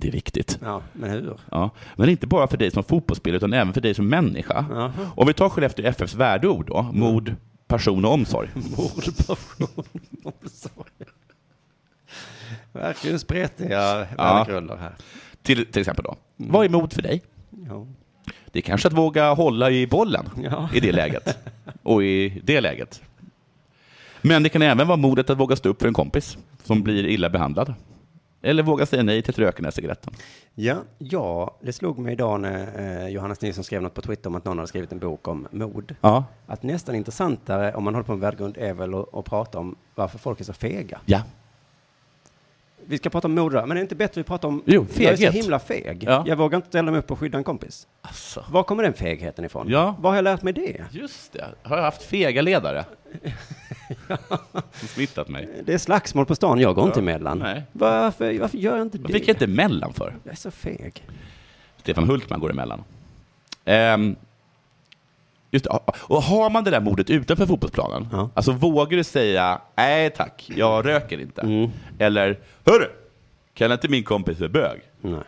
Det är viktigt.
Ja, men hur?
Ja, men inte bara för dig som fotbollsspelare, utan även för dig som människa. Om vi tar Skellefteå FFs värdeord då,
Mm.
mod, person och omsorg.
Mord, passion, omsorg. Verkligen spretiga värdegrunder här.
Till, till exempel då, vad är mod för dig?
Ja.
Det är kanske att våga hålla i bollen
Ja.
i det läget. Och i det läget. Men det kan även vara modet att våga stå upp för en kompis som blir illa behandlad. Eller våga säga nej till röken eller cigaretten.
Ja, ja, det slog mig idag när eh, Johannes Nilsson skrev något på Twitter om att någon hade skrivit en bok om mod.
Ja.
Att nästan intressantare om man håller på med värdegrund är väl att, att prata om varför folk är så fega.
Ja.
Vi ska prata om mod, men är det inte bättre att prata om
Jo,
jag är
feghet.
så himla feg.
Ja.
Jag vågar inte ställa mig upp och skydda en kompis.
Alltså.
Var kommer den fegheten ifrån?
Ja.
Var har jag lärt mig det?
Just det. Har jag haft fega ledare? Som smittat mig.
Det är slagsmål på stan, jag går inte emellan.
Nej.
Varför, varför gör jag inte
Vad
det?
fick jag inte emellan för?
Jag är så feg.
Stefan Hultman går emellan. Ehm, just det. Och har man det där modet utanför fotbollsplanen,
Ja.
alltså vågar du säga nej tack, jag röker inte. Eller, hörru, kan inte min kompis är bög?
Nej.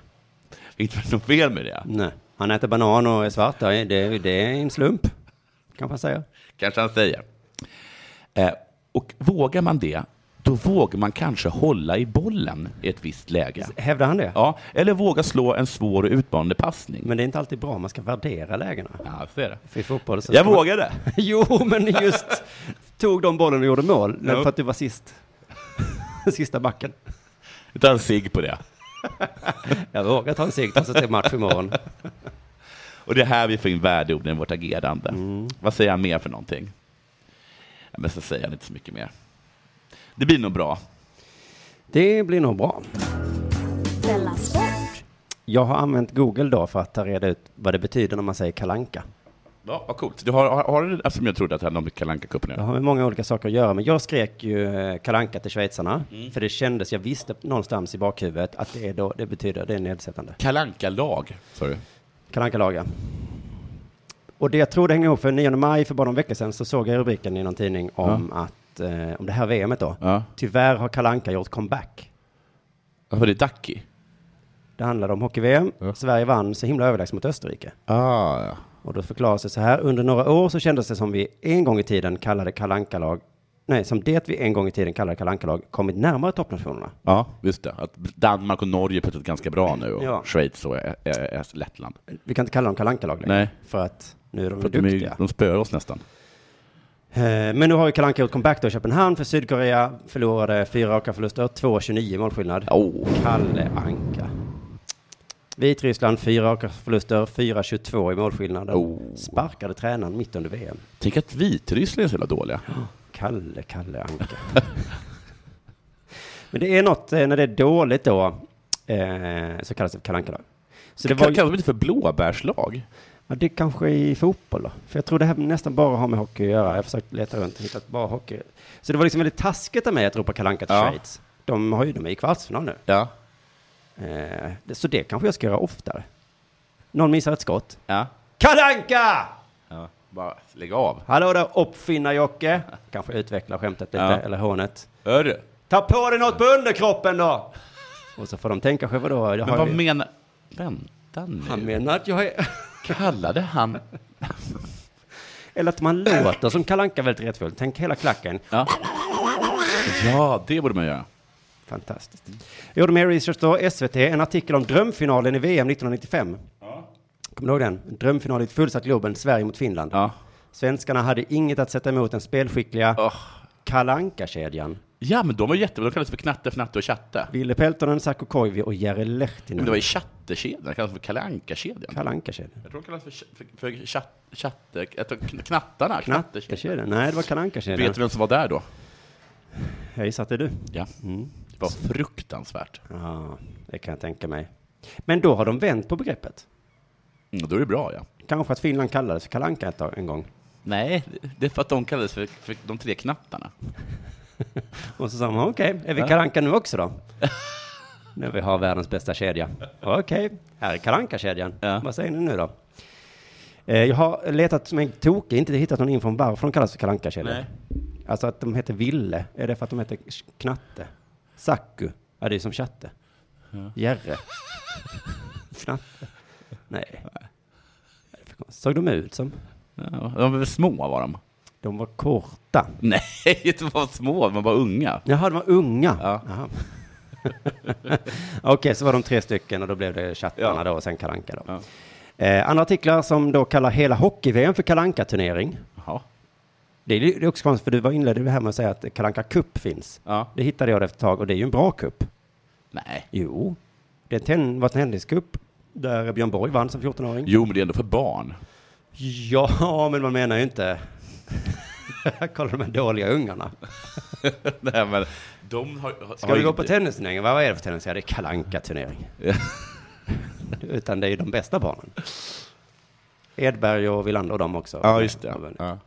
Inte för något fel med det.
Nej. Han äter banan och är svart. Ja, Det, det är en slump, kan man säga.
Kanske han säger. Eh, och vågar man det, då vågar man kanske hålla i bollen i ett visst läge.
Hävdar han det?
Ja, eller våga slå en svår och utmanande passning.
Men det är inte alltid bra. Man ska värdera lägena.
Ja, så är det.
För i fotboll så
Jag
ska man-
vågade.
Jo, men just tog de bollen och gjorde mål. men
Jo.
För att du var sist. Sista backen.
Utan sig på det.
Jag vågar ta en seger trots att det är match imorgon.
Och det är här vi får in värdeorden i vårt agerande. Vad säger han mer för någonting? Ja, Men så säger han inte så mycket mer. Det blir nog bra.
Det blir nog bra.
Della Sport.
Jag har använt Google då för att ta reda ut vad det betyder när man säger kalanka.
Ja, vad coolt. Du har, har, har du, alltså, jag trodde att det hade något med Kalle Anka-cupen att
Det
göra.
har med många olika saker att göra, men jag skrek ju eh, kalanka till schweizarna, för det kändes, jag visste någonstans i bakhuvudet att det, är då, det betyder, det är nedsättande.
Kalle Anka-lag, sa du?
kalanka laga Och det jag tror det hänger ihop, för 9 maj för bara någon vecka sedan så såg jag rubriken i någon tidning om att, eh, om det här VMet då,
Ja.
tyvärr har kalanka gjort comeback.
Vad var det? Ducky?
Det handlade om hockey-VM,
Ja.
Sverige vann så himla överlägset mot Österrike.
Ah, ja.
Och då förklaras det så här. Under några år så kändes det som vi en gång i tiden kallade kalankalag Nej, som det vi en gång i tiden kallade kalankalag kommit närmare toppnationerna.
ja, just det. Att Danmark och Norge är plötsligt ganska bra nu och
Ja.
Schweiz och Ä- Ä- Ä- Lettland.
Vi kan inte kalla dem kalankalag längre.
Nej.
För att nu är de
För
för
att de, är, ju-
duktiga.
de spöar oss nästan.
Eh, Men nu har ju Kalanka gjort comeback då i Köpenhamn för Sydkorea. Förlorade fyra raka förluster, 2-29 målskillnad.
Oh.
Kalle Anka. Vitryssland, fyra raka förluster, 4-22 i målskillnaden.
Oh.
Sparkade tränaren mitt under VM.
Tänk att Vitryssland är så jävla dåliga.
Kalle, Kalle Anka. Men det är något eh, när det är dåligt då, eh, så kallas det Kalle Anka-lag. Så det,
Det
var,
Kallar de inte för blåbärslag?
ja, det kanske är i fotboll då. För jag tror det här nästan bara har med hockey att göra. Jag har försökt leta runt och hittat bara hockey. Så det var liksom väldigt taskigt av mig att ropa Kalle Anka till
Ja.
Schweiz. De, har ju, de är i kvartsfinal nu.
Ja.
Eh, det- så det kanske jag ska göra oftare. Någon missar ett skott.
ja.
Kalle Anka!
ja. Bara lägg av.
Hallå där uppfinnar-Jocke! Kanske utveckla skämtet lite,
Ja.
eller hånet.
Hörru.
Ta på dig något på underkroppen då! Och så får de tänka själva då. Det
Men
har
vad
vi-
menar... Vänta nu.
han menar att jag är...
Kallade han...
Eller att man låter som Kalle Anka väldigt rättfullt. Tänk hela klacken.
Ja. ja, det borde man göra.
Fantastiskt. Jag gjorde mer research då. SVT, en artikel om drömfinalen i VM 1995. Kommer du ihåg den? Drömfinal i ett fullsatt Globen, Sverige mot Finland.
Ja.
Svenskarna hade inget att sätta emot den spelskickliga
Åh.
Kalle Anka-kedjan.
Ja, men de var jättebra. De kallades för Knatte, Fnatte och Tjatte.
Ville Peltonen, Sarko Koivi och Jari Lehtinen.
Men det var ju Tjattekedjan. Det kallades för Kalle Anka-kedjan.
Kalle Anka-kedjan.
Jag tror de kallades för, för, för tjatt, tjatte... jag tror kn- Knattarna. Knattekedjan.
Knattekedjan? Nej, det var Kalle Anka-kedjan.
Vet du vem som var där då?
Jag gissar att det är du.
Ja. Mm. Det var fruktansvärt.
Ja, det kan jag tänka mig. Men då har de vänt på begreppet.
Mm, då är det bra, ja.
Kanske att Finland kallades för Kalle Anka ett tag, en gång.
Nej, det är för att de kallades för, för de tre knattarna.
Och så sa man, okej, är vi Kalle Anka nu också då? När vi har världens bästa kedja. Okej, här är Kalle Anka-kedjan.
Ja.
Vad säger ni nu då? Eh, Jag har letat som en tokig, inte hittat någon info om varför de kallas för Kalle Anka-kedjan.
Nej.
Alltså att de heter Ville, är det för att de heter Knatte? Sacku? Ja, det är som Chatte. Jerre? Fnatte? Nej. Vad är det för konstigt? Såg de ut som?
Ja, de var väl små var de?
De var korta.
Nej, de var små, de var unga.
Jaha, de var unga.
Ja.
Jaha. Okej, så var de tre stycken och då blev det chattarna
Ja.
då och sen Kalanka då. Eh, andra artiklar som då kallar hela hockey-VM för kalanka turnering
Jaha.
Det är ju också konstigt, för du var inledde det här med att säga att Kalanka Cup finns.
Ja.
Det hittade jag efter ett tag och det är ju en bra cup.
Nej.
Jo, det är en ten, var en tenniscup där Björn Borg vann som 14-åring.
Jo, men det är ändå för barn.
Ja, men man menar ju inte... Kolla de här dåliga ungarna.
Nej, men de har, har
Ska vi
inte-
gå på tennisturneringen? Vad vad är det för tennis? Ja, det är kalanka turnering
Ja.
Utan det är ju de bästa barnen. Edberg och Wilander och de också.
Ja, just
Har
det.
vunnit.
Ja.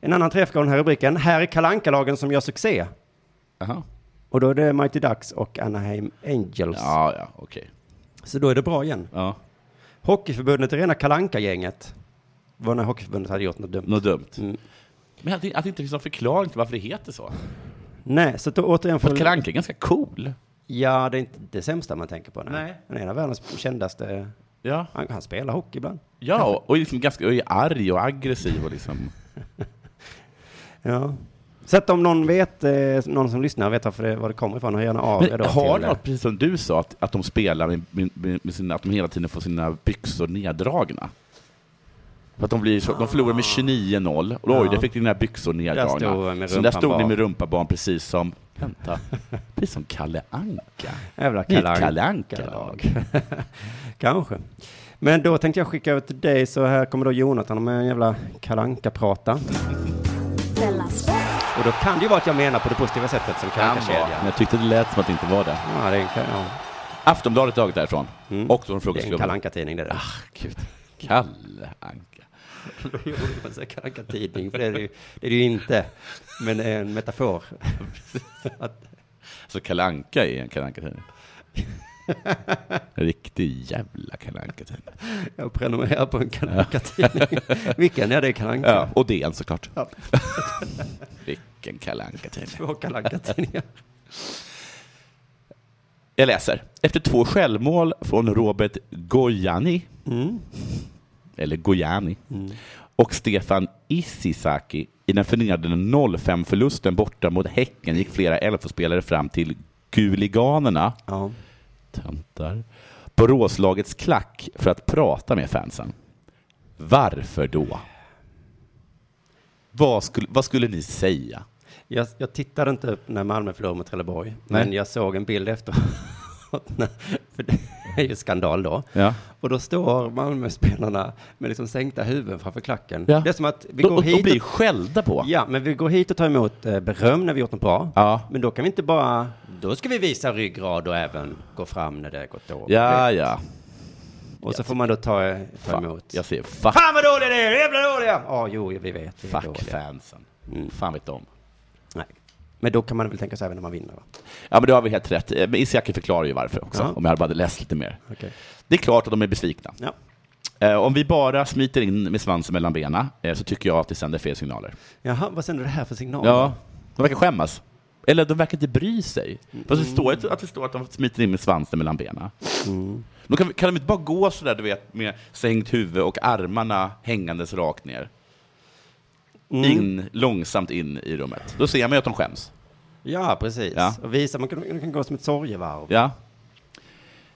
En annan träff i den här rubriken. Här är kalankalagen som gör succé.
Aha.
Och då är det Mighty Ducks och Anaheim Angels.
Ja, ja, okej.
Så då är det bra igen.
Ja.
Hockeyförbundet är rena kalanka gänget Det var när Hockeyförbundet hade gjort något dumt.
Något dumt.
Mm.
Men att, det- att det inte finns någon liksom förklaring till varför det heter så.
Nej, så då återigen
För att
får...
Kalle Anka är ganska cool.
Ja, det är inte det sämsta man tänker på. Nej.
Nej.
Han är en av världens kändaste...
Ja,
Han, han spelar hockey ibland.
ja och, och, liksom ganska, och är arg och aggressiv och liksom...
Ja. Så att om någon vet, eh, någon som lyssnar vet varför det, var det kommer ifrån, hör gärna av er
Men
då.
har
till, eh,
något, precis som du sa, att, att de spelar med, med, med sina, att de hela tiden får sina byxor neddragna? För att de, blir så, de förlorar med 29-0. Och då, Oj,
Ah. Ja.
där fick dina byxor neddragna.
Där stod jag med
så där
rumpan
stod ni
bar.
med rumpan barn precis som, vänta, precis som Kalle Anka.
Jävla
Ni är ett
Kalle
Kalle
Anka-lag.
Anka-lag.
Kanske. Men då tänkte jag skicka över till dig, så här kommer då Jonathan med en jävla kalanka prata Och
Della Sport!
då kan det ju vara att jag menar på det positiva sättet som
Kan vara, Men
kalanka-kedja.
jag tyckte det lät som att det inte var det.
Ja, det är en, ka- ja,
Aftonbladet daget därifrån.
Mm.
Och från
det är en
frukostklubben.
kalanka-tidning det är det.
Ah, gud. Kalle Anka.
Jo, man säger kalanka-tidning, för det är det, ju, det är det ju inte. Men det är en metafor. att,
Så Kalle Anka är en Kalle Anka-tidning. En Riktig jävla Kalle Anka-tidning.
jag prenumererar på en kalanka-tidning. Vilken? Ja, det är kalanka.
Ja, och DN såklart.
Ja.
Vilken Kalle Anka-tidning.
Två kalanka-tidningar.
Jag läser. Efter två självmål från Robert Gojani,
Mm.
eller Gojani, och Stefan Isisaki i den förnedrande 0-5-förlusten borta mot Häcken gick flera Elfsborgsspelare fram till Guliganerna
Ja.
töntar, på Råslagets klack för att prata med fansen. Varför då? Vad skulle, vad skulle ni säga?
Jag, jag tittade inte upp när Malmö förlorade mot Trelleborg,
Nej.
men jag såg en bild efteråt. när- För det är ju skandal då.
Ja.
Och då står Malmöspelarna med liksom sänkta huvuden framför klacken.
Ja.
Det är som att vi
De,
går
de, de
hit
blir
och,
skällda på.
ja, men vi går hit och tar emot eh, beröm när vi gjort något bra.
Ja.
Men då kan vi inte bara, då ska vi visa ryggrad och även gå fram när det har gått dåligt.
Ja, ja.
Och så får man då ta, eh, ta
Fan,
emot.
jag säger fuck,
Fan vad dåliga ni är, jävla dåliga! Ja, jo, vi vet. vi är
fuck
dåliga. Mm.
fansen. Fan vet de.
Nej. Men då kan man väl tänka sig även när man vinner va?
Ja, men det har vi helt rätt. Eh, Men Isiaki förklarar ju varför också,
Ja.
om jag bara hade läst lite mer.
Okej.
Det är klart att de är besvikna.
Ja.
Eh, om vi bara smiter in med svansen mellan benen eh, så tycker jag att det sänder fel signaler.
Jaha, vad sänder det här för signaler?
Ja, de verkar skämmas. Eller de verkar inte bry sig. Fast det står att, att det står att de smiter in med svansen mellan benen. Då kan, vi- kan de inte bara gå sådär, du vet, med sänkt huvud och armarna hängandes rakt ner? In, långsamt in i rummet. Då ser man ju att de skäms.
Ja, precis.
Ja.
Och visa, man kan, man kan gå som ett sorgevarv.
Ja.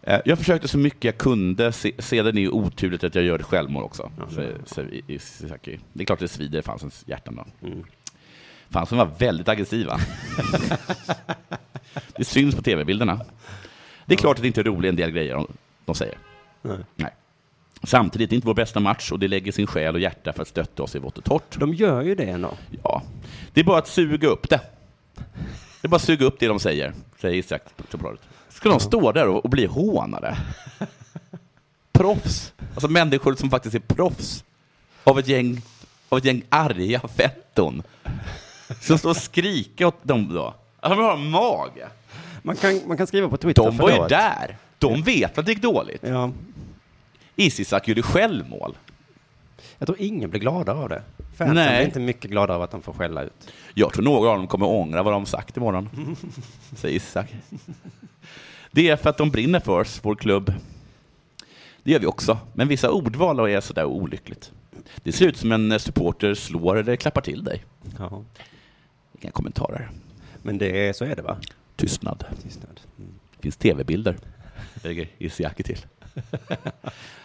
Eh, Jag försökte så mycket jag kunde, se- sedan är det oturligt att jag gör ett självmål också. säger- säger I- Isaki. Det är klart det svider i fansens hjärtan då. Fansen var väldigt aggressiva. det syns på tv-bilderna. Det är klart att det inte är roligt en del grejer de, de säger.
Nej.
Samtidigt, det är inte vår bästa match och det lägger sin själ och hjärta för att stötta oss i vått och torrt.
De gör ju det ändå.
Ja, det är bara att suga upp det. Det är bara att suga upp det de säger, säger Isak på bladet. Ska de stå där och, och bli hånade? Proffs. Alltså människor som faktiskt är proffs av ett gäng, av ett gäng arga fetton. Som står och skriker åt dem då. Alltså, de har en mage.
Man kan, man kan skriva på Twitter.
De var ju
förlåt.
där. De vet att det gick dåligt.
Ja.
Isisak gjorde självmål.
Jag tror ingen blir gladare av det. Fansen
Nej.
blir inte mycket gladare av att de får skälla ut.
Jag tror några av dem kommer ångra vad de sagt imorgon, säger Isak. Det är för att de brinner för oss, vår klubb. Det gör vi också, men vissa ordval är sådär olyckligt. Det ser ut som en supporter slår eller klappar till dig.
Ja.
Inga kommentarer.
Men det är, så är det va?
Tystnad.
Tystnad. Mm.
Finns tv-bilder. Lägger Isiaki till.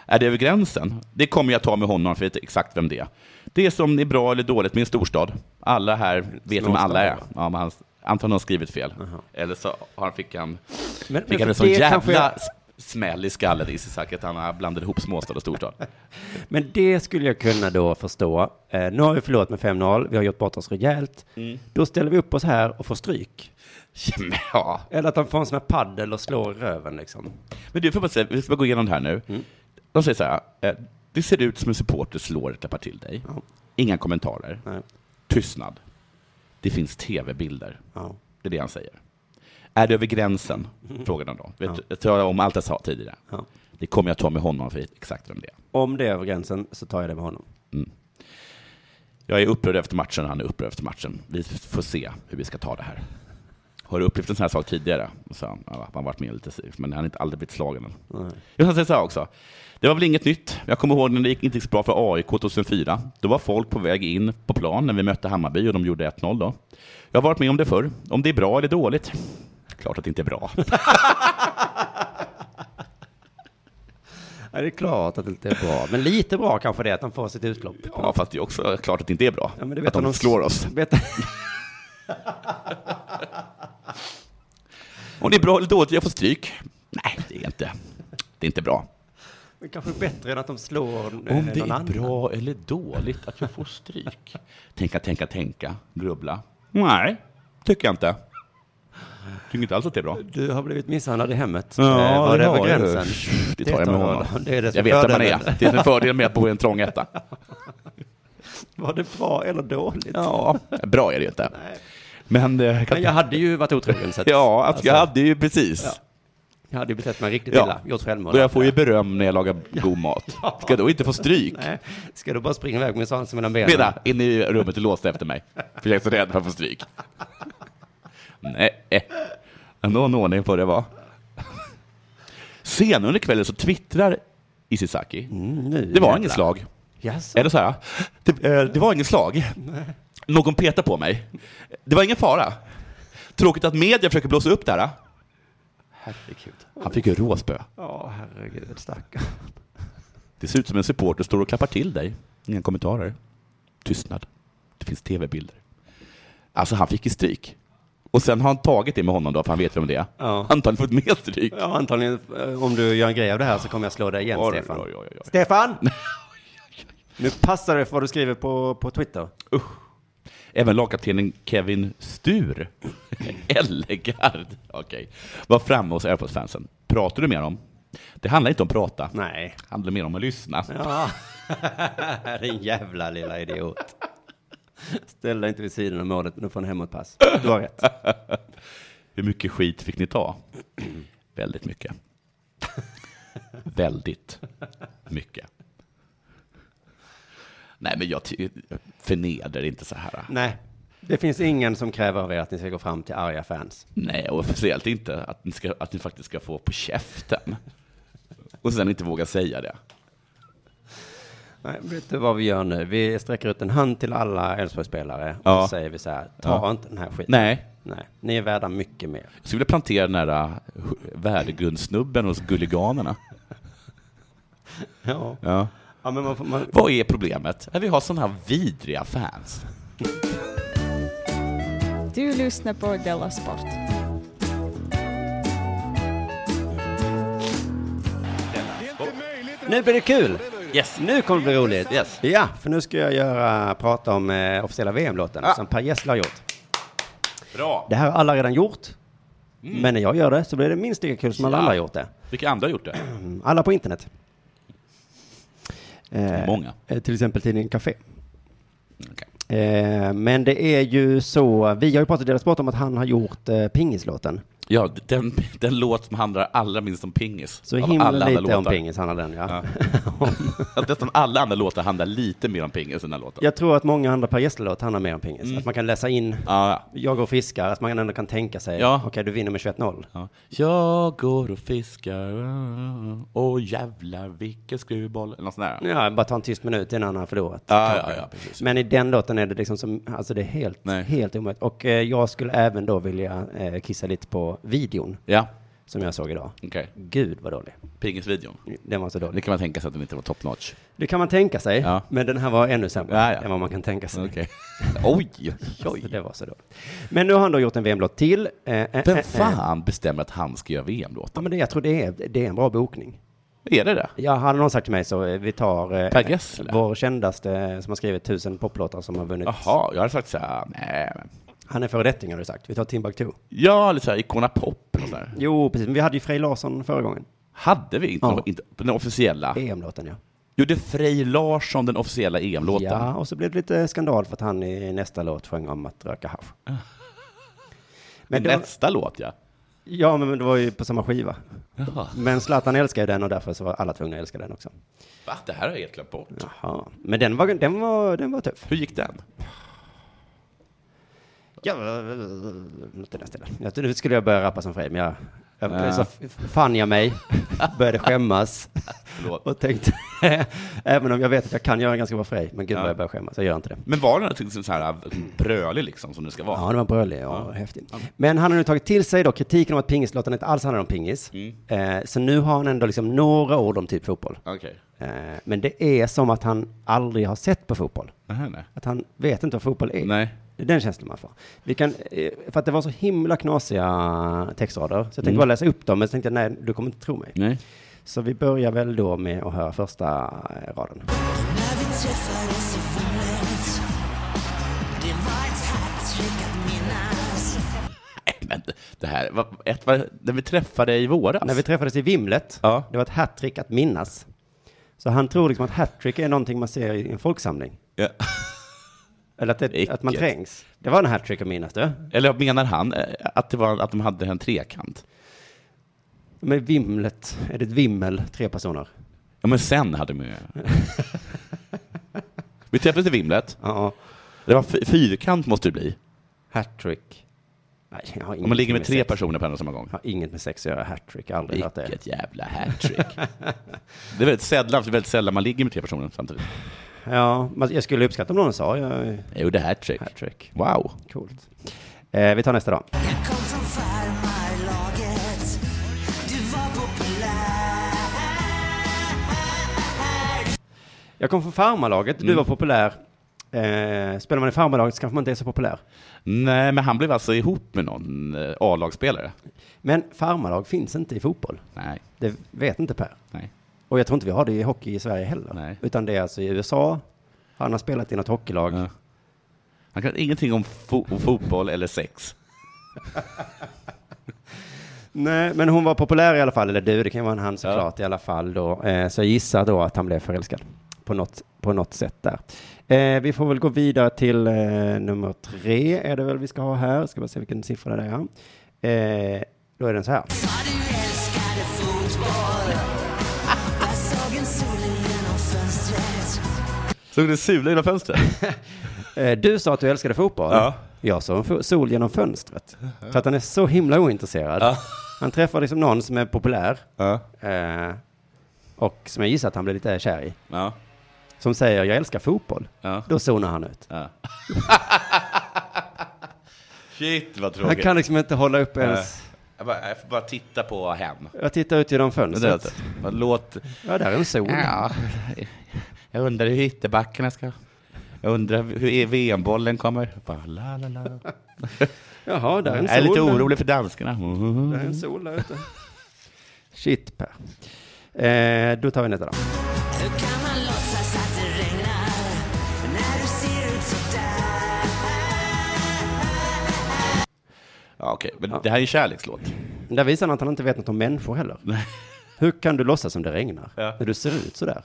är det över gränsen? Det kommer jag ta med honom, för jag vet exakt vem det är. Det som är bra eller dåligt med en storstad. Alla här vet om
Småstad,
alla är.
va?
Ja, men han, antagligen har han skrivit fel. Eller så har han fick han,
Men- men
fick han
för
en sån
det
jävla
kanske jag-
s- smäll i skallen, Ishak, att han har blandat ihop småstad och storstad.
Men det skulle jag kunna då förstå. Eh, nu har vi förlorat med 5-0, vi har gjort bort oss rejält. Då ställer vi upp oss här och får stryk.
Men ja,
Eller att han får en sån här paddel och slår i röven liksom.
Men du, får bara säga, vi ska bara gå igenom det här nu.
Mm.
De säger så här, eh, det ser ut som en supporter slår och klappar till dig.
Ja.
Inga kommentarer.
Nej.
Tystnad. Det finns tv-bilder.
Ja.
Det är det han säger. Är det över gränsen? Frågar de då. Vet du, jag tar om allt jag sa tidigare.
Mm. Ja.
Det kommer jag ta med honom för exakt vem det är.
Om det är över gränsen så tar jag det med honom.
Jag är upprörd efter matchen, han är upprörd efter matchen. Vi får se hur vi ska ta det här. Har du upplevt en sån här sak tidigare? Och så, ja, han har varit med lite, men han har inte aldrig blivit slagen. än. Jag kan säga så här också. Det var väl inget nytt. Jag kommer ihåg när det gick inte gick så bra för AIK 2004. Då var folk på väg in på plan när vi mötte Hammarby och de gjorde 1-0 då. Jag har varit med om det förr. Om det är bra eller dåligt? Klart att det inte är bra.
Ja, det är klart att det inte är bra, men lite bra kanske det är att han får sitt utlopp.
Ja, fast det är också klart att det inte är bra.
Ja, men det
att de
han-
slår oss.
Vet han-
Om det är bra eller dåligt, jag får stryk. Nej, det är inte. Det är inte bra.
men kanske bättre än att de slår Om
Om det
någon
är
annan.
bra eller dåligt att jag får stryk? Tänka, tänka, tänka, grubbla. Nej, tycker jag inte. Tycker inte alls att det är bra.
Du har blivit misshandlad i hemmet. Eh, var det över gränsen?
Det tar jag med honom.
Det är det som
jag vet att man
fördelen.
är. Det är en fördel med att bo i en trång etta.
Var det bra eller dåligt?
Ja, bra är det ju inte. Men, eh, jag Alltså. kan-
Men jag hade ju varit otrogen så att
ja, att jag hade ju precis.
jag hade ju betett mig riktigt
Ja.
illa, gjort självmord.
Och jag får ju beröm när jag lagar god mat. Ska jag då inte få stryk?
Nej, ska du bara springa iväg med svansen mellan benen?
Mena, in i rummet och låste efter mig. För jag är så rädd för att få stryk. Nej, eh. någon ordning får det vara. Senare under kvällen så twittrar Isisaki.
Mm, Nu
Det var
jävlar.
inget slag.
Jaså?
Eller så här, det, eh, det var inget slag. Någon petade på mig. Det var ingen fara. Tråkigt att media försöker blåsa upp det här.
Herregud.
Han fick ju råspö.
Ja, herregud, stackarn.
Det ser ut som en supporter står och klappar till dig. Inga kommentarer. Tystnad. Det finns tv-bilder. Alltså han fick ju stryk. Och sen har han tagit det med honom då, för han vet vem det är.
Ja.
Antagligen fått mer stryk.
Ja, antagligen, eh, om du gör en grej av det här så kommer jag slå dig igen,
Oj,
Stefan.
oj, oj, oj.
Stefan! nu passar det för vad du skriver på, på Twitter.
Även lagkaptenen Kevin Stur, Ellegard, okej, var framme hos Airforce-fansen. Pratar du med dem? Det handlar inte om prata.
Nej.
Det handlar mer om att lyssna.
Ja, din jävla lilla idiot. Ställ dig inte vid sidan av målet, nu får en hemåtpass. Du har rätt.
Hur mycket skit fick ni ta? Väldigt mycket. Väldigt mycket. Nej, men jag ty- jag förnedrar inte så här.
Nej, det finns ingen som kräver av er att ni ska gå fram till arga fans.
Nej, och speciellt inte att ni, ska, att ni faktiskt ska få på käften. Och sen inte våga säga det.
Nej, vet du vad vi gör nu? Vi sträcker ut en hand till alla Elfsborgsspelare och
Ja.
så säger vi så här, ta
Ja.
inte den här skiten.
Nej,
Nej, ni är värda mycket mer.
jag skulle vilja plantera den där eh, värdegrundsnubben hos Gulliganerna.
Ja,
Ja.
ja men man får... Man...
Vad är problemet? Att vi har sådana här vidriga fans.
Du lyssnar på Della Sport.
Nu blir det kul!
Yes.
Nu kommer det bli roligt.
Yes.
Ja, för nu ska jag göra, prata om eh, officiella VM-låten
Ja.
som Per Gessle har gjort.
Bra.
Det här har alla redan gjort. Men när jag gör det så blir det minst lika kul som alla
Ja.
andra har gjort det.
Vilka andra har gjort det?
Mm, Alla på internet. Eh,
Många.
eh, Till exempel tidningen Café.
Okej.
Eh, men det är ju så, vi har ju pratat i deras sport om att han har gjort eh, pingislåten.
Ja, den, den låt som handlar allra minst om pingis.
Så
Av
himla
alla
lite
andra låtar.
om pingis handlar den ja.
Att nästan alla andra låtar handlar lite mer om pingis än den här låten.
Jag tror att många andra Per Gessle-låtar handlar mer om pingis. Att man kan läsa in,
Mm. Ja,
jag går och fiskar, att man ändå kan tänka sig,
Ja.
okej du vinner med 21-0.
ja. Jag går och fiskar, och jävlar vilken skruvboll. Eller något sånt där.
Ja, bara ta en tyst minut innan han har förlorat.
Ja,
kanske.
ja, ja, precis.
Men i den låten är det liksom som, alltså det är helt,
Nej.
helt omöjligt. Och eh, jag skulle även då vilja eh, kissa lite på videon.
Ja.
som jag såg idag.
Okej.
Gud vad dålig.
Pingisvideon.
Den var så
Det
dålig.
kan man tänka sig att den inte var top notch.
Det kan man tänka sig,
Ja.
men den här var ännu sämre
Ja, ja.
än vad man kan tänka sig.
Okej. Oj,
Så
oj.
det var så dåligt. Men nu har han då gjort en VM-låt till. Eh, eh, eh, eh.
Vem fan bestämmer att han ska göra VM-låtar?
Ja, men det, jag tror det är, det är en bra bokning.
Är det det?
Ja, hade någon sagt till mig så, eh, vi tar eh,
Per Gessle? Ah.
vår kändaste eh, som har skrivit tusen poplåtar som har vunnit.
Jaha, jag hade sagt så här, nej men.
Han är föredetting har du sagt. Vi tar Timbuktu.
Mm. Ja, eller så här Icona Pop eller så här.
Jo, precis. Men vi hade ju Frej Larsson förra gången.
Hade vi inte,
Ja.
någon- inte den officiella?
EM-låten, ja.
Gjorde Frej Larsson den officiella E EM-låten?
Ja, och så blev det lite skandal för att han i nästa låt sjöng om att röka hasch.
Ah.
Men det var,
Nästa låt, ja.
ja, men det var ju på samma skiva.
Jaha.
Men Zlatan älskar ju den och därför så var alla tvungna att älska den också.
Va? Det här har jag helt glömt bort.
Jaha. Men den var, den var, den var tuff.
Hur gick den?
Ja, något i den stilen. Jag, nu skulle jag börja rappa som Frej, men jag, jag, så f- fann jag mig, började skämmas
Förlåt.
och tänkte, även om jag vet att jag kan göra en ganska bra Frej, men gud vad
Ja.
jag börjar skämmas, jag gör inte det.
Men var det någonting som så här äh, brölig liksom, som det ska vara?
Ja, det var brölig och häftig. Men han har nu tagit till sig då kritiken om att pingislåten inte alls handlar om pingis. Eh, så nu har han ändå liksom några ord om typ fotboll.
Okej.
Eh, men det är som att han aldrig har sett på fotboll.
Nähä, nej.
Att han vet inte vad fotboll är.
Nej.
Det är den känslan man får. Vi kan, eh, för att det var så himla knasiga textrader, så jag
Mm.
tänkte bara läsa upp dem, men så tänkte jag nej, du kommer inte tro mig.
Nej.
Så vi börjar väl då med att höra första eh, raden.
När vi träffades i fallet Det var ett hattrick att minnas
Nej, Äh, men det här var, ett, var, när vi träffade i våras.
När vi träffades i vimlet,
Ja.
det var ett hattrick att minnas. Så han tror liksom att hattrick är någonting man ser i en folksamling.
ja.
Eller att, det,
Vilket.
att man trängs. Det var en hattrick att minnas du.
Eller menar han eh, att, det var, att de hade en trekant?
Men vimlet, är det ett vimmel, tre personer?
Ja, men sen hade de ju... vi träffades i vimlet.
Ja.
Det var fy- fyrkant måste det bli.
Hattrick. Nej, jag har
Om man ligger med tre
sex.
personer på en och samma gång.
Jag har inget med sex att göra, hattrick, jag har aldrig hört det.
Vilket jävla hattrick. det är väldigt sällan, det är väldigt sällan man ligger med tre personer samtidigt.
Ja, men jag skulle uppskatta om någon sa jag,
Jag gjorde hattrick.
hattrick.
Wow.
Coolt. Eh, vi tar nästa då.
Jag kom från farmarlaget Du var populär
Jag kom från farmarlaget,
Mm.
du var populär. Eh, spelar man i farmarlaget så kanske man inte är så populär.
Nej, men han blev alltså ihop med någon eh, A-lagsspelare?
Men farmarlag finns inte i fotboll.
Nej,
Det vet inte Per.
nej.
Och jag tror inte vi har det i hockey i Sverige heller.
Nej.
Utan det är alltså i USA. Han har spelat i något hockeylag.
Ja. Han kan ingenting om fo- om fotboll eller sex.
Nej, men hon var populär i alla fall. Eller du, det kan ju vara en han såklart i alla fall då. Eh, så jag gissar då att han blev förälskad. På något, på något sätt där. Eh, vi får väl gå vidare till eh, nummer tre är det väl vi ska ha här. Ska bara se vilken siffra det är. Eh, då är den så här.
Sa du älskade fotboll Jag såg en solen genom fönstret
Såg du sula genom fönstret?
Eh, du sa att du älskade fotboll.
Ja.
Jag såg en fo- sol genom fönstret. Så att han är så himla ointresserad.
Ja.
Han träffar liksom någon som är populär.
ja.
Eh, och som jag gissar att han blir lite kär i.
Ja.
Som säger jag älskar fotboll.
Ja.
Då zonar han ut.
Shit vad
Han
tråkigt.
kan liksom inte hålla upp ens.
jag, bara, jag får bara titta på hem.
Jag tittar ut genom
Det där,
fönstret.
bara låt...
Ja, där är en sol.
Ja, jag undrar hur ytterbackarna ska... Jag undrar hur VM-bollen kommer. Bara, la, la, la.
Jaha, där är en
Jag
sol.
är lite
där.
orolig för danskarna.
Där är en sol där ute. Shit, Per. Eh, då tar vi nästa då.
Hur kan man låtsas att det regnar När du ser ut sådär
Ja, okej. Men det här är en kärlekslåt.
Där visar han att han inte vet något om människor heller. Hur kan du låtsas som det regnar?
Ja.
När du ser ut sådär.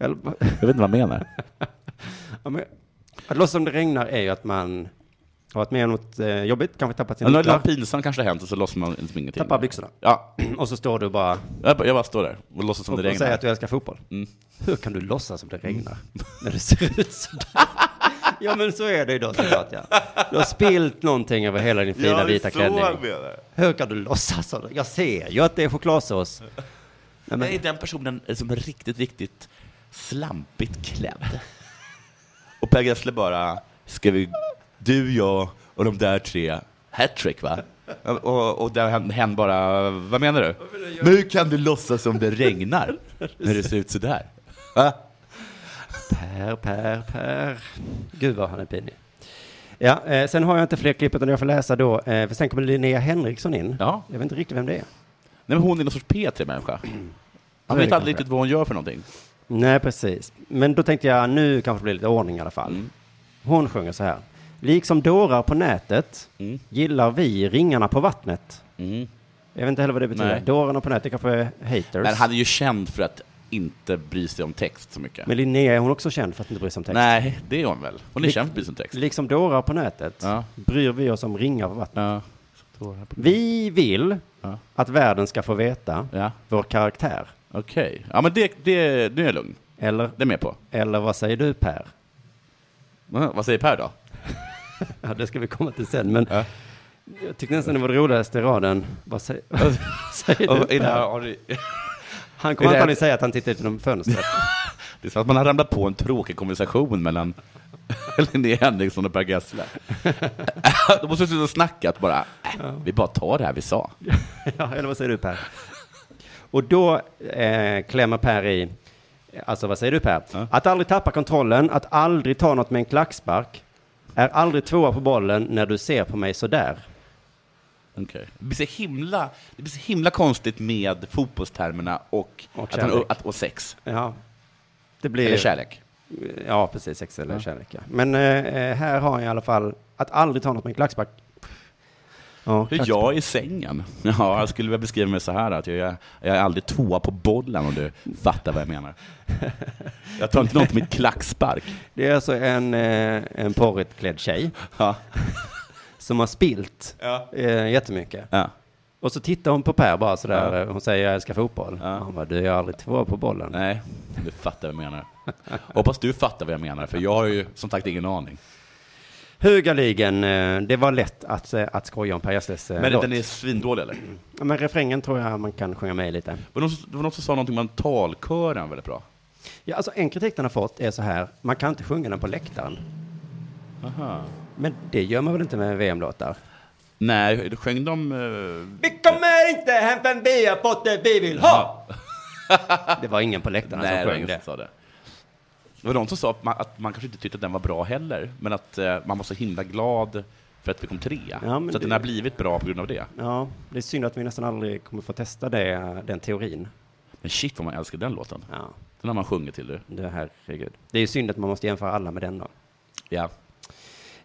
Eller, va-
Jag vet inte vad jag menar.
ja, men, att låtsas som det regnar är ju att man har varit med om något eh, jobbigt, kanske tappat
Men
sina
något
nycklar,
pinsamt kanske har hänt och så låtsas man liksom ingenting.
tappat byxorna.
Ja,
Och så står du bara
jag bara jag bara står där och låtsas som
och,
det
och säger
regnar.
att du älskar fotboll.
Mm.
Hur kan du låtsas som det regnar? När det ser ut sådär. ja men så är det ju då såklart ja. Du har spilt någonting över hela din fina vita klänning.
menar.
Hur kan du låtsas som det? Jag ser ju att det är chokladsås. Nej, men,
Nej, den personen är som är riktigt, riktigt slampigt klädd. Och Per Gessle bara, ska vi, du, jag och de där tre, hattrick va? Och, och där hen- hen bara, vad menar du? Nu kan du låtsas som det regnar när det ser ut sådär. Va?
Per, Per, Per. Gud vad han är pinig. Ja, eh, sen har jag inte fler klipp utan jag får läsa då. Eh, för sen kommer Linnea Henriksson in.
Ja.
Jag vet inte riktigt vem det är.
Nej, men hon är någon sorts P3-människa.
Ja,
Man
det
vet
kanske.
aldrig riktigt vad hon gör för någonting.
Nej, precis. Men då tänkte jag nu kanske det blir lite ordning i alla fall.
Mm.
Hon sjunger så här. Liksom dårar på nätet
Mm.
gillar vi ringarna på vattnet.
Mm.
Jag vet inte heller vad det betyder.
Nej.
Dårarna på nätet kanske är haters.
Men
Men,
han är ju känd för att inte bry sig om text så mycket.
Linnea är hon också känd för att inte bry sig om text.
Nej, det är hon väl. Hon är
Lik-
känd för att bry sig om text.
Liksom dårar på nätet
Ja.
bryr vi oss om ringar på vattnet.
Ja.
Vi vill
Ja.
att världen ska få veta
Ja,
vår karaktär.
okej. Ja, men det, det, nu är jag lugn.
Eller,
Det är jag med på.
eller vad säger du Per?
Mm, Vad säger Per då?
Ja, det ska vi komma till sen, men
Ja.
jag tyckte nästan det var den roligaste raden. Vad säger, vad säger du
Och- i det, här,
Per?
har du-
Han kommer
i det här-
antagligen säga att han tittar ut genom fönstret.
det är som att man har ramlat på en tråkig konversation mellan Linnea Henriksson och Per Gessle. De måste sluta snackat bara. Äh, Vi bara tar det här vi sa.
ja, eller vad säger du Per? Och då eh, klämmer Per i, alltså vad säger du Per?
Ja.
Att aldrig tappa kontrollen, att aldrig ta något med en klackspark, är aldrig tvåa på bollen när du ser på mig sådär.
Det, blir så himla, det blir så himla konstigt med fotbollstermerna och,
Och
att han,
kärlek.
att, och sex.
Ja, det blir...
Eller kärlek.
Ja, precis. Sex eller
Ja.
kärlek, ja. Men eh, eh, här har jag i alla fall att aldrig ta något med en klackspark. Ja,
Hur
klackspark.
jag i sängen? Ja, jag skulle väl beskriva mig så här att jag, jag, jag är aldrig tvåa på bollen om du fattar vad jag menar. Jag tar inte något med mitt klackspark.
Det är alltså en, eh, en porrigt klädd tjej
Ja.
som har spilt
Ja.
eh, jättemycket.
Ja.
Och så tittar hon på Per bara sådär.
Ja.
eh, Hon säger jag älskar fotboll.
Ja.
Och Han bara, du är aldrig två på bollen.
Nej, du fattar vad jag menar. Hoppas du fattar vad jag menar, för jag har ju som sagt ingen aning.
Högaligen, eh, det var lätt att, eh, att skoja om Per Gessles eh,
Men
låt.
den är svindålig eller?
Ja, Men refrängen tror jag man kan sjunga med i lite.
Var det någon som- det var någon som sa någonting om talkören väldigt bra?
Ja, alltså en kritik den har fått är så här, man kan inte sjunga den på läktaren.
Aha.
Men det gör man väl inte med VM-låtar?
Nej, sjöng de... eh,
Vi kommer inte hem förrän vi har fått det vi vill ha! Det var ingen på läktarna
Nej, det
som
var
sjöng
ingen
det.
som sa det. Det var någon som sa att man, att man kanske inte tyckte att den var bra heller, men att eh, man var så himla glad för att vi kom trea.
Ja, men
så att den
det-
har blivit bra på grund av det.
Ja, det är synd att vi nästan aldrig kommer få testa det, den teorin.
Men shit vad man älskar den låten.
Ja,
Den har man sjungit till du.
det här, herregud. Det är ju synd att man måste jämföra alla med den då.
Ja.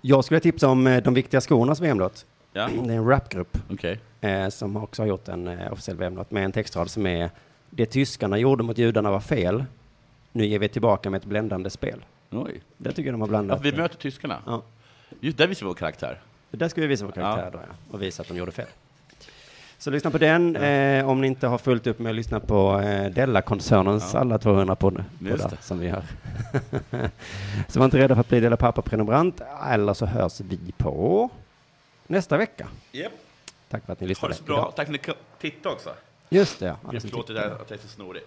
Jag skulle tipsa om eh, De viktiga skornas VM-låt.
Ja,
Det
okej.
är en rapgrupp eh, som också har gjort en eh, officiell VM-låt med en textrad som är Det tyskarna gjorde mot judarna var fel. Nu ger vi tillbaka med ett bländande spel.
Oj.
Det tycker jag de har
Ja,
blandat.
vi möter tyskarna.
Ja.
Just där visar vi vår karaktär.
Där ska vi visa vår karaktär då, ja. Och visa att de gjorde fel. Så lyssna på den eh, om ni inte har fullt upp med att lyssna på eh, Della-koncernens alla 200 podd-
Just
poddar
det.
som vi har. så var inte rädda för att bli Della Pappa-prenumerant, eller så hörs vi på nästa vecka.
Yep.
Tack för att ni
Ha
lyssnade.
det så bra.
idag.
Tack för att ni tittade också.
Just det, ja. Alla som
Förlåt
tittade.
att jag är så snorig.